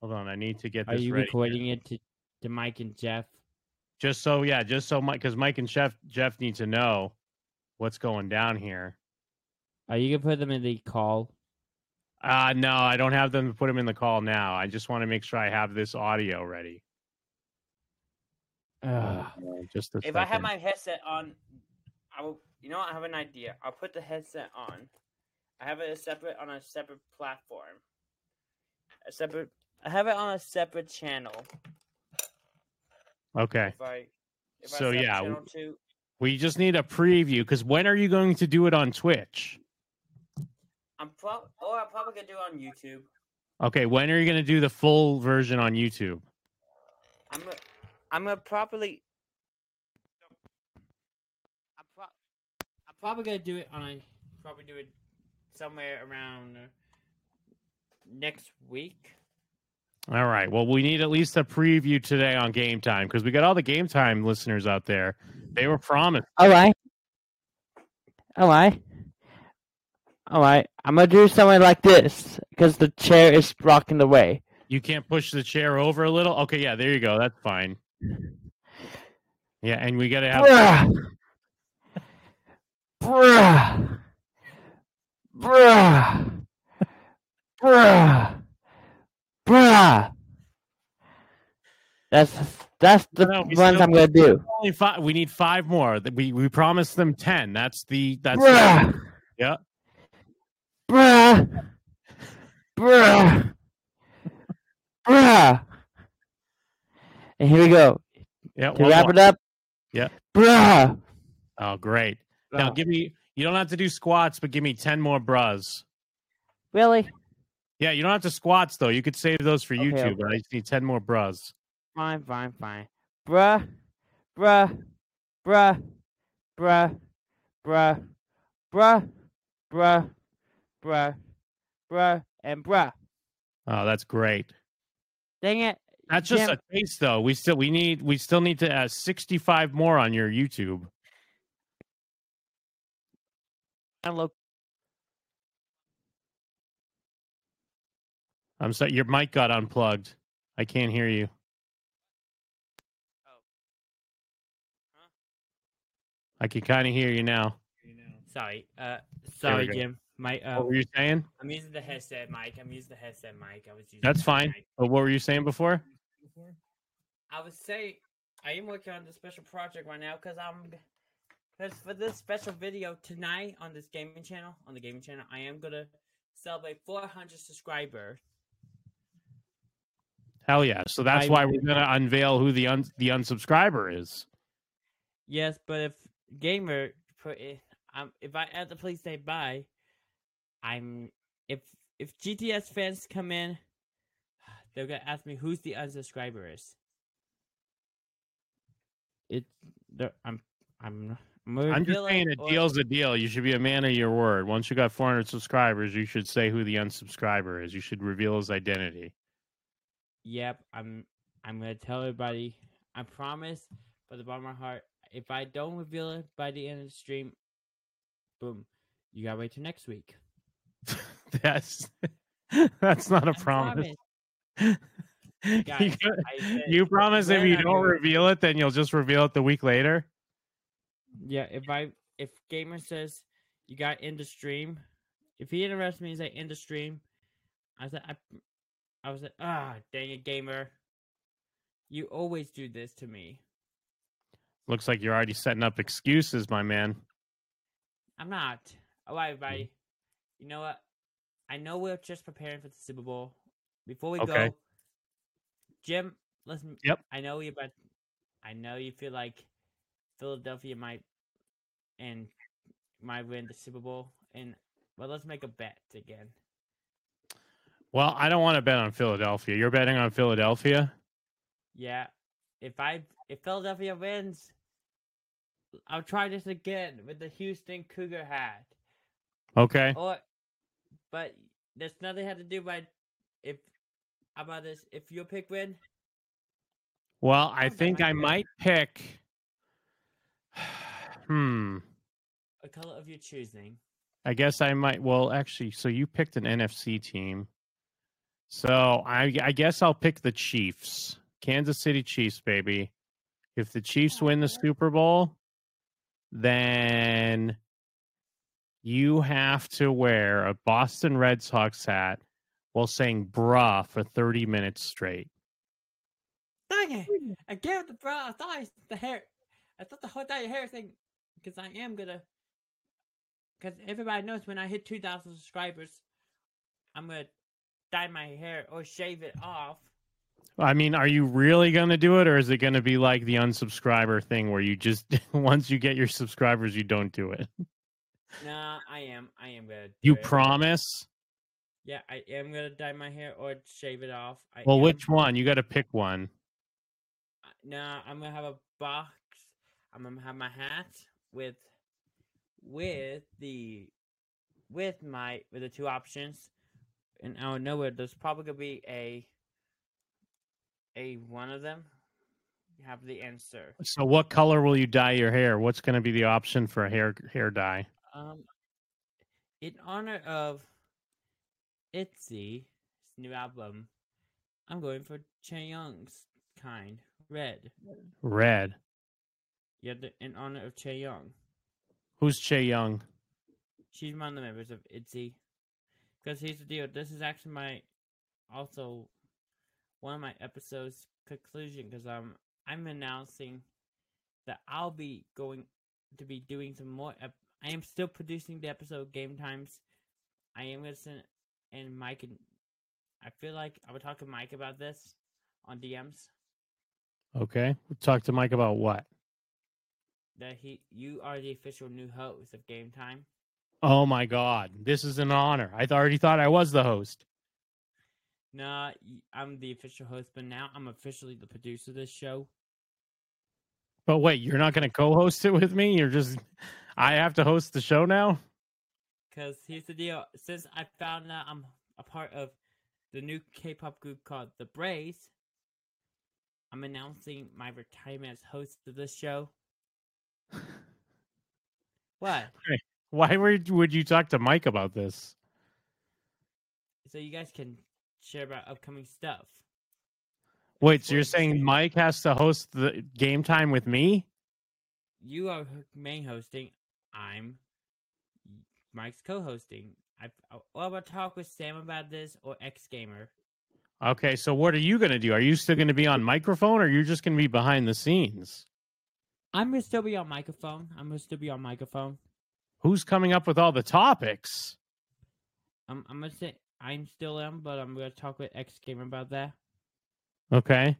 Speaker 3: hold on. I need to get
Speaker 2: Are
Speaker 3: this
Speaker 2: you
Speaker 3: ready.
Speaker 2: recording it to, to Mike and Jeff?
Speaker 3: Just so, yeah, just so Mike, because Mike and Jeff Jeff need to know what's going down here.
Speaker 2: Are you gonna put them in the call?
Speaker 3: Uh no, I don't have them to put them in the call now. I just want to make sure I have this audio ready.
Speaker 2: Ugh.
Speaker 3: Uh, just a
Speaker 2: If I have
Speaker 3: second.
Speaker 2: my headset on, I will. You know, what, I have an idea. I'll put the headset on. I have it a separate on a separate platform. A separate. I have it on a separate channel.
Speaker 3: Okay.
Speaker 2: If I. If I
Speaker 3: So,
Speaker 2: set
Speaker 3: yeah,
Speaker 2: Channel two.
Speaker 3: We just need a preview because when are you going to do it on Twitch?
Speaker 2: I'm prob or I'm probably gonna do it on YouTube.
Speaker 3: Okay, when are you going to do the full version on YouTube?
Speaker 2: I'm. Gonna, I'm gonna probably. I'm, pro- I'm probably gonna do it on a probably do it somewhere around uh, next week.
Speaker 3: All right. Well, we need at least a preview today on Game Time because we got all the Game Time listeners out there. They were promised.
Speaker 2: All right. All right. All right. oh, I'm gonna do something like this because the chair is blocking the way.
Speaker 3: You can't push the chair over a little. Okay, yeah, there you go. That's fine. Yeah, and we got to have
Speaker 2: Bruh. Bruh. Bruh. Bruh. Bruh. That's that's the
Speaker 3: No, we
Speaker 2: ones
Speaker 3: still-
Speaker 2: I'm gonna do.
Speaker 3: only five. We need five more. That We we promised them ten. That's the (laughs) that's the,
Speaker 2: Bruh.
Speaker 3: Yeah.
Speaker 2: Bruh. Bruh. Bruh. And here we go.
Speaker 3: yeah.
Speaker 2: To
Speaker 3: one
Speaker 2: wrap
Speaker 3: more.
Speaker 2: it up.
Speaker 3: Yeah.
Speaker 2: Bruh.
Speaker 3: Oh, great! Now give me. You don't have to do squats, but give me ten more bras.
Speaker 2: Really?
Speaker 3: Yeah, you don't have to squats though. You could save those for
Speaker 2: Okay,
Speaker 3: YouTube.
Speaker 2: okay.
Speaker 3: But I just need ten more bras.
Speaker 2: Fine, fine, fine. Bruh. Bruh. Bruh. Bruh. Bruh. Bruh. Bruh. Bruh. Bruh. And bruh.
Speaker 3: Oh, that's great.
Speaker 2: Dang it.
Speaker 3: That's just
Speaker 2: Jim-
Speaker 3: a taste though. We still we need we still need to add sixty five more on your YouTube.
Speaker 2: Hello.
Speaker 3: I'm sorry, your mic got unplugged. I can't hear you.
Speaker 2: Huh?
Speaker 3: Oh. I can kind of hear you now.
Speaker 2: Sorry. Uh
Speaker 3: There we
Speaker 2: sorry,
Speaker 3: go.
Speaker 2: Jim. My, uh,
Speaker 3: What were you saying?
Speaker 2: I'm using the headset mic. I'm using the headset mic. I was using
Speaker 3: That's
Speaker 2: the
Speaker 3: fine.
Speaker 2: mic.
Speaker 3: But Oh, what were you saying before?
Speaker 2: I would say I am working on this special project right now because I'm because for this special video tonight on this gaming channel on the gaming channel I am gonna celebrate 400 subscribers.
Speaker 3: Hell yeah! So that's
Speaker 4: I-
Speaker 3: why we're gonna unveil who the un- the unsubscriber is.
Speaker 2: Yes, but if gamer put it, um, if I have to please say bye, I'm if if GTS fans come in, (sighs) they're gonna ask me who's the unsubscriber is. It's the- I'm I'm I'm,
Speaker 3: I'm just
Speaker 2: revealing
Speaker 3: saying a
Speaker 2: or-
Speaker 3: deal's a deal. You should be a man of your word. Once you got 400 subscribers, you should say who the unsubscriber is. You should reveal his identity. (laughs)
Speaker 2: Yep, I'm I'm gonna tell everybody. I promise, but the bottom of my heart, if I don't reveal it by the end of the stream, boom, you gotta wait till next week.
Speaker 3: That's (laughs) that's not a
Speaker 2: I
Speaker 3: promise. (laughs) you,
Speaker 2: Guys,
Speaker 3: got-
Speaker 2: I (laughs) said-
Speaker 3: you promise if
Speaker 2: when
Speaker 3: you
Speaker 2: I
Speaker 3: don't
Speaker 2: do it-
Speaker 3: reveal it, then you'll just reveal it the week later.
Speaker 2: Yeah, if I if gamer says you got in the stream, if he interrupts me and say in the stream, I said I, I was like ah dang it gamer, you always do this to me.
Speaker 3: Looks like you're already setting up excuses, my man.
Speaker 2: I'm not. All
Speaker 3: Mm-hmm.
Speaker 2: right, everybody. You know what? I know we're just preparing for the Super Bowl. Before we
Speaker 3: Okay.
Speaker 2: go, Jim, listen.
Speaker 3: Yep.
Speaker 2: I know you, but I know you feel like Philadelphia might and might win the Super Bowl. And well, let's make a bet again.
Speaker 3: Well, I don't want to bet on Philadelphia. You're betting on Philadelphia.
Speaker 2: Yeah. If I if Philadelphia wins, I'll try this again with the Houston Cougar hat.
Speaker 3: Okay.
Speaker 2: (laughs) Or, but there's nothing had to do by if how about this. If your pick win,
Speaker 3: Well,
Speaker 2: Oh,
Speaker 3: I
Speaker 2: that
Speaker 3: think
Speaker 2: might
Speaker 3: I
Speaker 2: be it.
Speaker 3: might pick. (sighs) hmm.
Speaker 2: a color of your choosing.
Speaker 3: I guess I might. Well, actually, so you picked an NFC team. So I, I guess I'll pick the Chiefs, Kansas City Chiefs, baby. If the Chiefs win the Super Bowl, then you have to wear a Boston Red Sox hat while saying bruh for 30 minutes straight.
Speaker 2: Dang it! I gave it the bra. I thought I, the hair. I thought the whole dye hair thing, because I am gonna. Because everybody knows when I hit two thousand subscribers, I'm gonna dye my hair or shave it off.
Speaker 3: I mean, are you really going to do it, or is it going to be like the unsubscriber thing where you just, (laughs) once you get your subscribers, you don't do it?
Speaker 2: Nah, I am. I am gonna. do
Speaker 3: You
Speaker 2: it.
Speaker 3: promise?
Speaker 2: Yeah, I am gonna dye my hair or shave it off. I
Speaker 3: Well,
Speaker 2: am.
Speaker 3: which one? You got to pick one.
Speaker 2: Uh, No, I'm gonna have a box. I'm gonna have my hat with with the with my with the two options, and I don't know where there's probably gonna be a a one of them. You have the answer.
Speaker 3: So, what color will you dye your hair? What's going to be the option for a hair hair dye?
Speaker 2: Um, in honor of Itzy's new album, I'm going for Chaeyoung's kind red.
Speaker 3: Red.
Speaker 2: Yeah, the- in honor of Chaeyoung.
Speaker 3: Who's Che Young?
Speaker 2: She's one of the members of ITZY. Because here's the deal. This is actually my, also, one of my episodes conclusion. Because um, I'm announcing that I'll be going to be doing some more. Ep- I am still producing the episode Game Times. I am going to send, and Mike and, I feel like I would talk to Mike about this on DMs.
Speaker 3: Okay. Talk to Mike about what?
Speaker 2: That he, you are the official new host of Game Time.
Speaker 3: Oh my God. This is an honor. I th- already thought I was the host.
Speaker 2: Nah, y- I'm the official host, but now I'm officially the producer of this show.
Speaker 3: But wait, you're not going to co host it with me? You're just, I have to host the show now?
Speaker 2: Because here's the deal. Since I found out I'm a part of the new K pop group called The Braves, I'm announcing my retirement as host of this show. What?
Speaker 3: Why were, would you talk to Mike about this?
Speaker 2: So you guys can share about upcoming stuff.
Speaker 3: Wait, so
Speaker 2: Well,
Speaker 3: you're
Speaker 2: it's the
Speaker 3: saying
Speaker 2: same.
Speaker 3: Mike has to host the game time with me?
Speaker 2: You are h- main hosting. I'm Mike's co-hosting. I well, I'll talk with Sam about this or X Gamer.
Speaker 3: Okay, so what are you going to do? Are you still going to be on microphone, or you're just going to be behind the scenes?
Speaker 2: I'm gonna still be on microphone. I'm gonna still be on microphone.
Speaker 3: Who's coming up with all the topics?
Speaker 2: I'm, I'm gonna say I'm still am, but I'm gonna talk with X Gamer about that.
Speaker 3: Okay.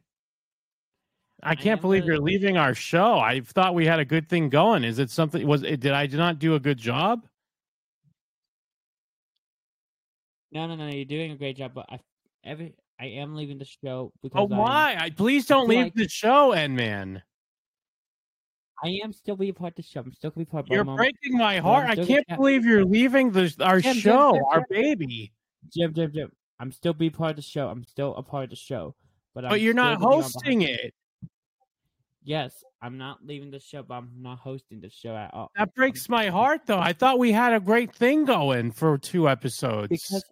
Speaker 3: I can't believe
Speaker 2: gonna-
Speaker 3: you're leaving our show. I thought we had a good thing going. Is it something? Was it? Did I not do a good job?
Speaker 2: No, no, no. You're doing a great job, but I every I am leaving the show because
Speaker 3: Oh,
Speaker 2: I'm-
Speaker 3: why? I, please don't
Speaker 2: feel
Speaker 3: leave
Speaker 2: like-
Speaker 3: the show, N man.
Speaker 2: I am still be part of the show. I'm still gonna be part. of
Speaker 3: You're
Speaker 2: Bum Bum.
Speaker 3: breaking my
Speaker 2: Well, I'm
Speaker 3: heart. I
Speaker 2: still
Speaker 3: can't
Speaker 2: gonna-
Speaker 3: believe you're leaving the our
Speaker 2: Jim, Jim,
Speaker 3: show,
Speaker 2: Jim,
Speaker 3: our baby.
Speaker 2: Jim, Jim, Jim. I'm still be part of the show. I'm still a part of the show, but I'm
Speaker 3: But you're not
Speaker 2: still gonna be on behind-
Speaker 3: hosting it.
Speaker 2: Yes, I'm not leaving the show, but I'm not hosting the show at all
Speaker 3: That breaks my heart, though. I thought we had a great thing going for two episodes.
Speaker 2: because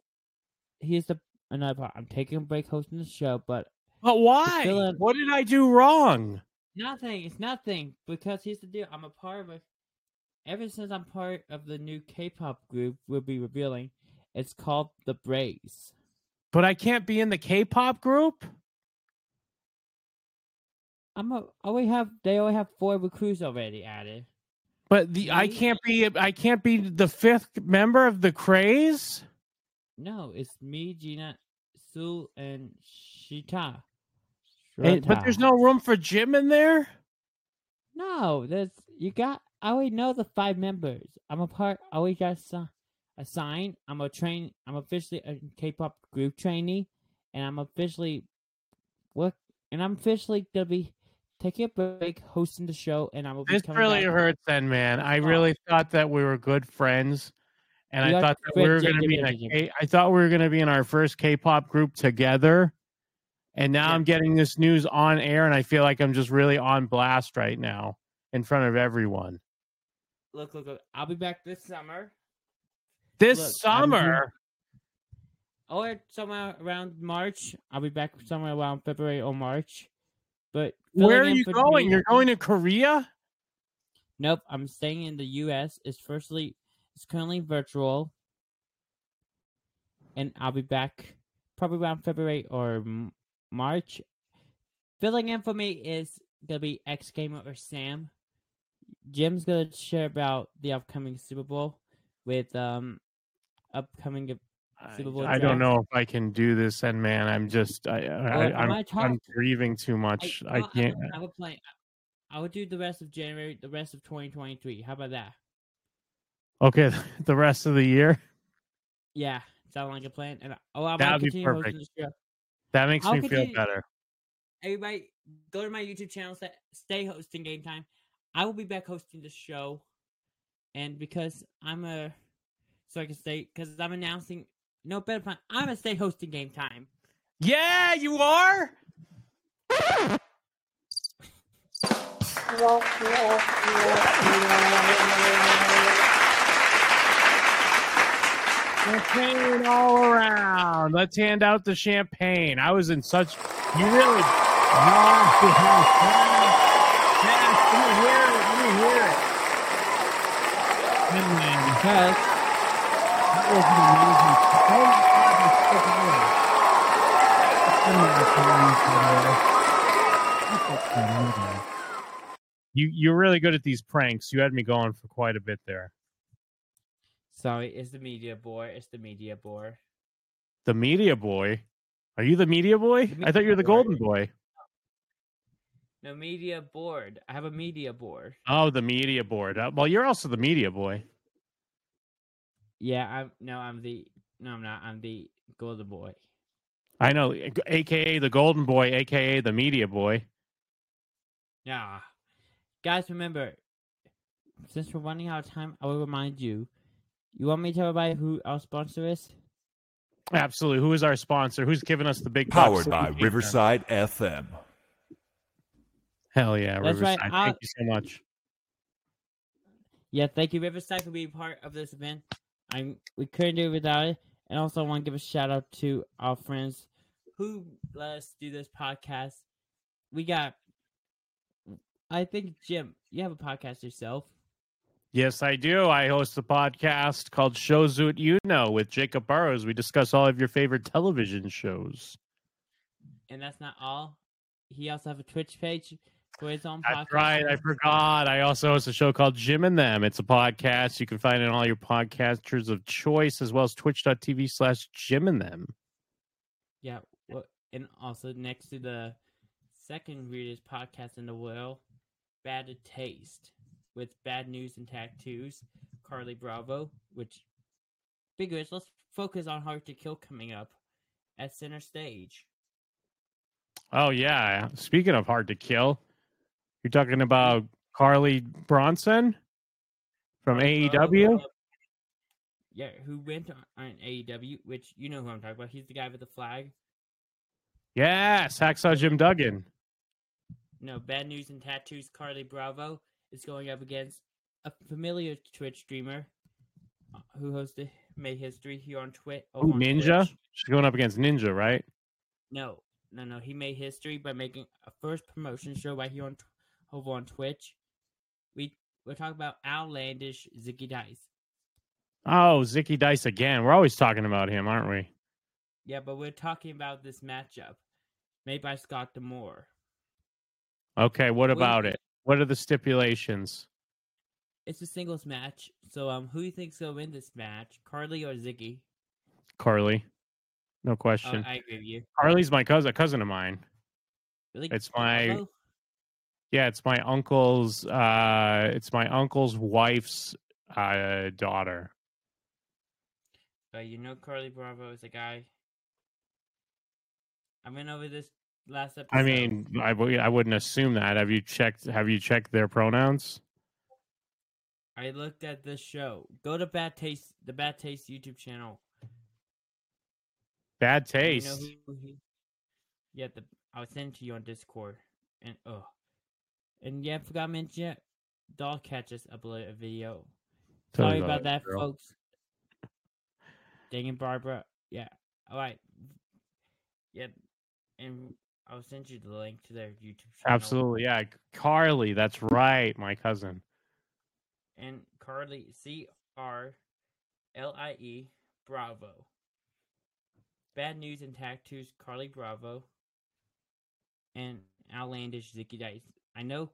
Speaker 2: here's the another part. I'm taking a break hosting the show, but
Speaker 3: but why?
Speaker 2: fill in-
Speaker 3: What did I do wrong?
Speaker 2: nothing. It's nothing because here's the deal. I'm a part of. A, ever since I'm part of the new K-pop group, we'll be revealing. It's called the Braves.
Speaker 3: But I can't be in the K-pop group.
Speaker 2: I'm a. I already have. They already have four recruits already added.
Speaker 3: But the I
Speaker 2: Me?
Speaker 3: can't be I can't be the fifth member of the craze.
Speaker 2: No, it's me, Gina, Sue, and Shita.
Speaker 3: And- but there's no room for Jim in there.
Speaker 2: No, there's you got. I already know the five members. I'm a part. I already got assi- assigned. I'm a train. I'm officially a K-pop group trainee, and I'm officially work. And I'm officially gonna be taking a break, hosting the show, and I will be
Speaker 3: This
Speaker 2: coming
Speaker 3: really
Speaker 2: back.
Speaker 3: hurts, then, man. I really thought that we were good friends, and
Speaker 2: We
Speaker 3: I
Speaker 2: are
Speaker 3: thought that we were
Speaker 2: friends,
Speaker 3: going to
Speaker 2: Jim,
Speaker 3: be in
Speaker 2: Jim,
Speaker 3: a
Speaker 2: Jim,
Speaker 3: K- I thought we were going to be in our first K-pop group together, and now
Speaker 2: Yeah.
Speaker 3: I'm getting this news on air, and I feel like I'm just really on blast right now in front of everyone.
Speaker 2: Look, look, look! I'll be back this summer.
Speaker 3: This
Speaker 2: Look, I'm doing-
Speaker 3: summer,
Speaker 2: or somewhere around March. I'll be back somewhere around February or March. But
Speaker 3: where are
Speaker 2: filling in
Speaker 3: you
Speaker 2: for
Speaker 3: going?
Speaker 2: me-
Speaker 3: You're going to Korea?
Speaker 2: Nope, I'm staying in the U.S. It's firstly, it's currently virtual, and I'll be back probably around February or M- March. Filling in for me is gonna be X Gamer or Sam. Jim's gonna share about the upcoming Super Bowl with um upcoming
Speaker 3: I,
Speaker 2: Super Bowl
Speaker 3: I don't
Speaker 2: draft.
Speaker 3: know if I can do this, and man, I'm just I, I,
Speaker 2: Well,
Speaker 3: I
Speaker 2: my
Speaker 3: I'm,
Speaker 2: top-
Speaker 3: I'm grieving too much. I
Speaker 2: well,
Speaker 3: can't.
Speaker 2: would- I would play. I would do the rest of January, the rest of 2023. How about that?
Speaker 3: Okay, (laughs) the rest of the year
Speaker 2: Yeah, sound like a plan. And oh, I
Speaker 3: That'd
Speaker 2: might
Speaker 3: be
Speaker 2: continue hosting
Speaker 3: perfect.
Speaker 2: the show.
Speaker 3: that makes
Speaker 2: I'll
Speaker 3: me feel
Speaker 2: continue-
Speaker 3: better.
Speaker 2: Everybody, go to my YouTube channel. sa- Stay hosting game time. I will be back hosting the show, and because I'm a, so I can stay because I'm announcing. No better plan. I'm gonna stay hosting game time.
Speaker 3: Yeah, you are. Champagne all around. Let's hand out the champagne. I was in such. You really. Yes, let me hear it. Let me hear it. And then, yes, that was an amazing. Thank God you stuck it out. I'm not a fan, but, uh, You you're really good at these pranks. You had me going for quite a bit there.
Speaker 2: (laughs) Sorry, it's the media board. It's the media board.
Speaker 3: The media boy. Are you the media boy? I thought you were the golden boy.
Speaker 2: No media board. I have a media board.
Speaker 3: Oh, the media board. Uh, well, you're also the media boy.
Speaker 2: Yeah, I'm no, I'm the no, I'm not. I'm the golden boy.
Speaker 3: I know, aka the golden boy, aka the media boy.
Speaker 2: Yeah, guys, remember, since we're running out of time, I will remind you. You want me to tell everybody who our sponsor is?
Speaker 3: Absolutely. Who is our sponsor? Who's giving us the big bucks?
Speaker 5: Powered by Riverside FM.
Speaker 3: Hell yeah,
Speaker 2: That's right, Uh,
Speaker 3: Riverside.
Speaker 2: I-
Speaker 3: Thank you so much.
Speaker 2: Yeah, thank you, Riverside, for being part of this event. I'm we couldn't do it without it. And also, I want to give a shout out to our friends who let us do this podcast. We got, I think, Jim. You have a podcast yourself.
Speaker 3: Yes, I do. I host the podcast called Shows That You Know with Jacob Burrows. We discuss all of your favorite television shows.
Speaker 2: And that's not all. He also have a Twitch page for his own podcast.
Speaker 3: That's right. I forgot. I also host a show called Jim and Them. It's a podcast. You can find it on all your podcasters of choice, as well as twitch.tv slash Jim and Them.
Speaker 2: Yeah. Well, and also next to the second weirdest podcast in the world, Bad Taste with Bad News and Tattoos, Carly Bravo, which figures let's focus on Hard to Kill coming up at center stage.
Speaker 3: Oh, yeah. Speaking of hard to kill, you're talking about Carly Bronson from
Speaker 2: Carly
Speaker 3: E
Speaker 2: Bravo,
Speaker 3: AEW?
Speaker 2: uh, yeah, who went on, on AEW, which you know who I'm talking about. He's the guy with the flag.
Speaker 3: Yes. Hacksaw Jim Duggan.
Speaker 2: No, Bad News and Tattoos, Carly Bravo is going up against a familiar Twitch streamer uh, who hosted Made History here on Twitch.
Speaker 3: Ooh, Ninja. She's going up against Ninja, right?
Speaker 2: No, no, no. He made history by making a first promotion show right here on tw- over on Twitch. We we're talking about outlandish Ziggy Dice.
Speaker 3: Oh, Zicky Dice again. We're always talking about him, aren't we?
Speaker 2: Yeah, but we're talking about this matchup made by Scott Demore.
Speaker 3: Okay, what
Speaker 2: Well,
Speaker 3: about it? What are the stipulations?
Speaker 2: It's a singles match, so um, who do you think's gonna win this match, Carly or Ziggy?
Speaker 3: Carly. No
Speaker 2: Uh,
Speaker 3: question.
Speaker 2: I agree with you.
Speaker 3: Carly's my cousin, a cousin of mine.
Speaker 2: Really?
Speaker 3: It's my-
Speaker 2: Bravo?
Speaker 3: Yeah, it's my uncle's uh it's my uncle's wife's uh daughter.
Speaker 2: But you know, Carly Bravo is a guy. I went over this last episode.
Speaker 3: I mean, I w- I wouldn't assume that. Have you checked have you checked their pronouns?
Speaker 2: I looked at this show. Go to Bad Taste, the Bad Taste YouTube channel.
Speaker 3: Bad
Speaker 2: Do you
Speaker 3: taste.
Speaker 2: know who he- yeah, the, I'll send it to you on Discord. And oh, and yeah, I forgot to mention it. Dollcat just uploaded a video.
Speaker 3: Totally
Speaker 2: Sorry
Speaker 3: love
Speaker 2: about
Speaker 3: it,
Speaker 2: that,
Speaker 3: girl.
Speaker 2: folks. Dang it, Barbara. Yeah. All right. Yep. And I'll send you the link to their YouTube channel.
Speaker 3: Absolutely. Yeah, Carly, that's right, my cousin.
Speaker 2: and Carly C R L I E Bravo. Bad news and tattoos, Carly Bravo, and outlandish Zicky Dice. I know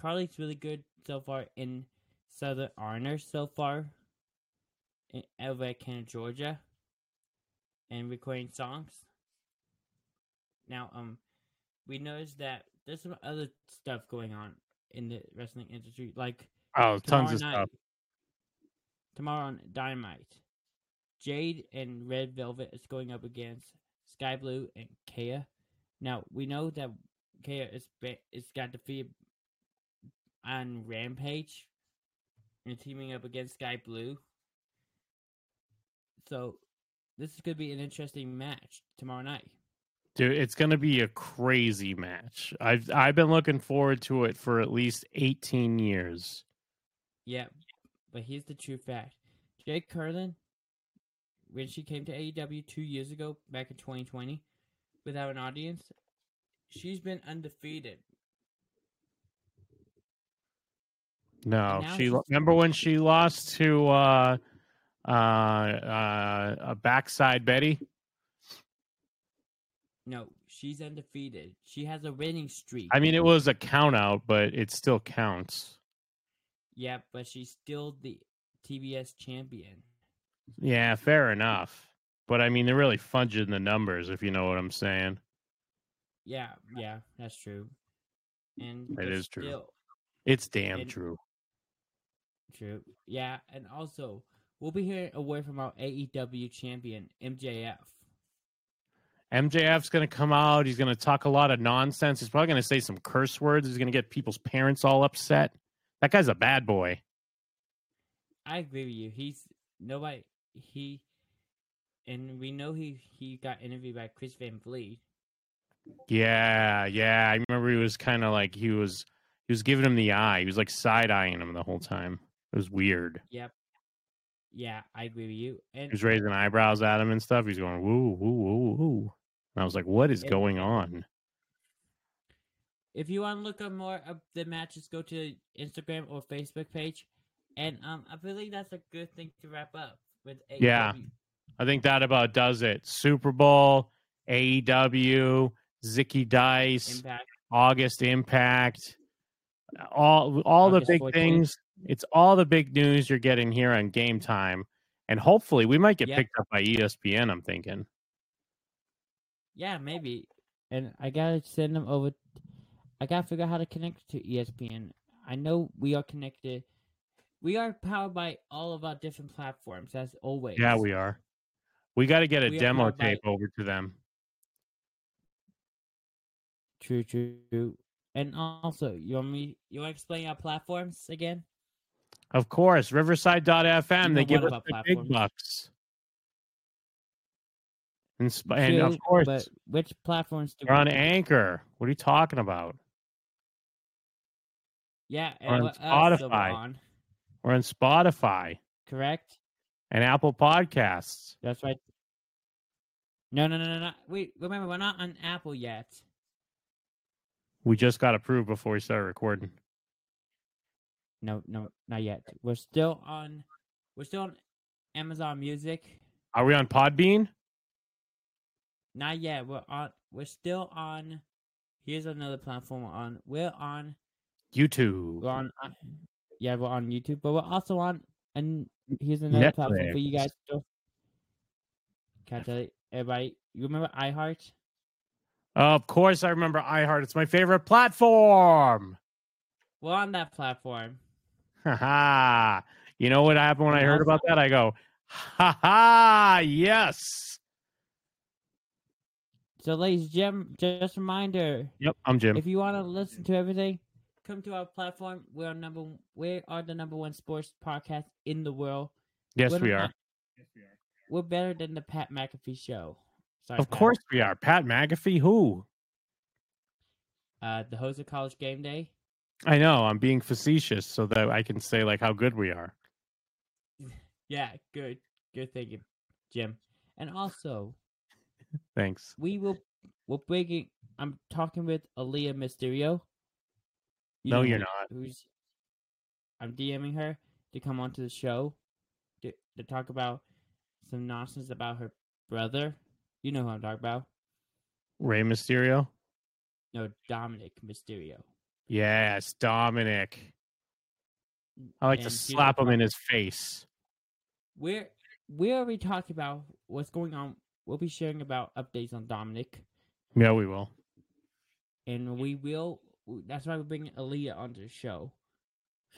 Speaker 2: Carly's really good so far in Southern Honor so far in over at Canada, Georgia, and recording songs. Now, um, we noticed that there's some other stuff going on in the wrestling industry, like
Speaker 3: Oh, tons
Speaker 2: tomorrow
Speaker 3: of stuff.
Speaker 2: Tomorrow on Dynamite, Jade and Red Velvet is going up against Sky Blue and Kaya. Now we know that Kaya is ba- is got defeated on Rampage and teaming up against Sky Blue. So this is going to be an interesting match tomorrow night.
Speaker 3: Dude, it's going to be a crazy match. I've I've been looking forward to it for at least 18 years.
Speaker 2: Yeah, but here's the true fact: Jade Curlin, when she came to AEW two years ago, back in 2020, without an audience, she's been undefeated.
Speaker 3: No,
Speaker 2: And now
Speaker 3: she
Speaker 2: she's-
Speaker 3: remember when she lost to uh uh uh a backside Betty?
Speaker 2: No, she's undefeated. She has a winning streak.
Speaker 3: I mean, it was a count out, but it still counts.
Speaker 2: yeah, but she's still the TBS champion.
Speaker 3: Yeah, fair enough. But I mean, they're really fudging the numbers if you know what I'm saying.
Speaker 2: Yeah, yeah, that's true. And
Speaker 3: That
Speaker 2: but
Speaker 3: is true.
Speaker 2: still-
Speaker 3: It's damn
Speaker 2: And-
Speaker 3: true.
Speaker 2: True. Yeah, and also we'll be hearing a word from our AEW champion MJF.
Speaker 3: MJF's going to come out. He's going to talk a lot of nonsense. He's probably going to say some curse words. He's going to get people's parents all upset. That guy's a bad boy.
Speaker 2: I agree with you. He's nobody. He and we know he he got interviewed by Chris Van Vliet.
Speaker 3: Yeah, yeah. I remember he was kind of like he was he was giving him the eye. He was like side eyeing him the whole time. It was weird.
Speaker 2: Yep. Yeah, I agree with you.
Speaker 3: He
Speaker 2: And
Speaker 3: was raising eyebrows at him and stuff. He's going woo woo woo woo. And I was like, what is
Speaker 2: And-
Speaker 3: going on?
Speaker 2: if you want to look up more of the matches, go to Instagram or Facebook page And um, I believe that's a good thing to wrap up with. AEW.
Speaker 3: Yeah. I think that about does it. Super Bowl, AEW, Zicky Dice,
Speaker 2: Impact.
Speaker 3: August Impact, all all
Speaker 6: August
Speaker 3: the big
Speaker 6: 14th.
Speaker 3: things. It's all the big news you're getting here on Game Time, and hopefully we might get
Speaker 2: Yeah.
Speaker 3: picked up by E ESPN. I'm thinking.
Speaker 2: Yeah, maybe.
Speaker 6: and I gotta send them over. I gotta figure out how to connect to
Speaker 2: E
Speaker 6: ESPN. I know we are connected.
Speaker 2: We are powered by all of our different platforms, as always.
Speaker 3: Yeah, we are. We got to get a
Speaker 2: We are
Speaker 3: demo
Speaker 2: powered by-
Speaker 3: tape over to them.
Speaker 6: True, true, true.
Speaker 2: And also, you want me? You want to explain our platforms again?
Speaker 3: Of course, Riverside.fm.
Speaker 2: You know
Speaker 3: they give
Speaker 2: what
Speaker 3: us the
Speaker 2: about
Speaker 3: big
Speaker 2: platforms.
Speaker 3: bucks. And, sp- and of
Speaker 6: True,
Speaker 3: course,
Speaker 6: but which platforms do
Speaker 3: we're on
Speaker 6: we use?
Speaker 3: Anchor. What are you talking about?
Speaker 2: Yeah,
Speaker 3: On
Speaker 2: and what else are we
Speaker 3: Spotify.
Speaker 2: on?
Speaker 3: We're on Spotify
Speaker 6: Correct.
Speaker 3: and Apple Podcasts.
Speaker 6: That's right.
Speaker 2: No, no, no, no, no. Wait, remember we're not on Apple yet.
Speaker 3: We just got approved before we started recording.
Speaker 6: No, no, not yet.
Speaker 2: We're still on. We're still on Amazon Music.
Speaker 3: Are we on Podbean?
Speaker 2: Not yet. We're on. We're still on. Here's another platform we're on. We're on.
Speaker 3: YouTube.
Speaker 2: We're on. uh,
Speaker 6: Yeah, we're on YouTube, but we're also on. And here's another platform for you
Speaker 3: Netflix.
Speaker 6: guys. To catch it, everybody. You remember iHeart?
Speaker 3: Of course, I remember iHeart. It's my favorite platform.
Speaker 2: We're on that platform.
Speaker 3: Ha ha. (laughs) You know what happened when I
Speaker 6: And
Speaker 3: heard about that? I go, ha ha, yes.
Speaker 6: So, ladies, Jim, just a reminder:
Speaker 3: Yep, I'm Jim.
Speaker 6: if you want to listen to everything,
Speaker 2: Come to our platform. We're on number. We are the number one sports podcast in the world.
Speaker 3: yes,
Speaker 2: we're
Speaker 3: we
Speaker 2: not-
Speaker 3: are.
Speaker 2: We're better than the Pat McAfee show. Sorry,
Speaker 3: Of
Speaker 2: Pat.
Speaker 3: course we are. Pat McAfee, who?
Speaker 2: Uh, the host of College Game Day.
Speaker 3: I know. I'm being facetious so that I can say like how good we are.
Speaker 2: Yeah, good, good thinking, Jim. And also,
Speaker 3: Thanks.
Speaker 2: we will we're bringing. I'm talking with Aaliyah Mysterio. You
Speaker 3: No,
Speaker 2: know
Speaker 3: you're
Speaker 2: who-
Speaker 3: not.
Speaker 2: Who's? I'm DMing her to come onto the show to, to talk about some nonsense about her brother. You know who I'm talking about?
Speaker 3: Ray Mysterio.
Speaker 2: No, Dominic Mysterio.
Speaker 3: Yes, Dominic. I like to
Speaker 2: And she's a
Speaker 3: slap him in
Speaker 2: pro-
Speaker 3: his face.
Speaker 2: We're we already talked about what's going on. We'll be sharing about updates on Dominic,
Speaker 3: Yeah, we will.
Speaker 2: and we will. That's why we're bringing Aaliyah onto the show.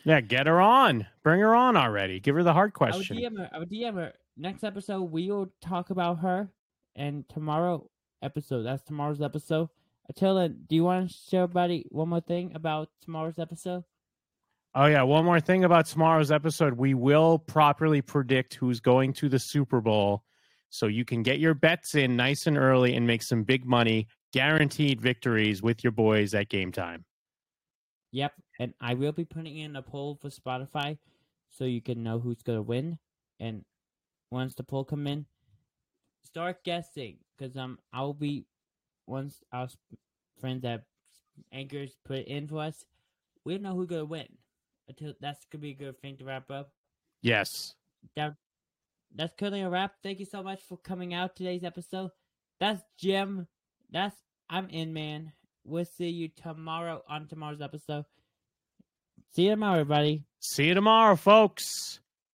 Speaker 3: Yeah, get her on. Bring her on already. Give her the hard
Speaker 2: I would
Speaker 3: question.
Speaker 2: DM her. I would DM her. Next episode, we will talk about her. And tomorrow episode, that's tomorrow's episode. Until then, do you want to share buddy one more thing about tomorrow's episode?
Speaker 3: Oh yeah, one more thing about tomorrow's episode. We will properly predict who's going to the Super Bowl. So you can get your bets in nice and early and make some big money, guaranteed victories with your boys at game time.
Speaker 2: Yep. And I will be putting in a poll for Spotify, so you can know who's gonna win. And once the poll come in, start guessing because um I'll be once our s- friends at anchors put it in for us, we'll know who's gonna win. Until that's gonna be a good thing to wrap up.
Speaker 3: Yes.
Speaker 2: that's currently a wrap. Thank you so much for coming out today's episode. That's Jim. That's I'm in man. We'll see you tomorrow on tomorrow's episode. See you tomorrow, everybody.
Speaker 3: See you tomorrow, folks.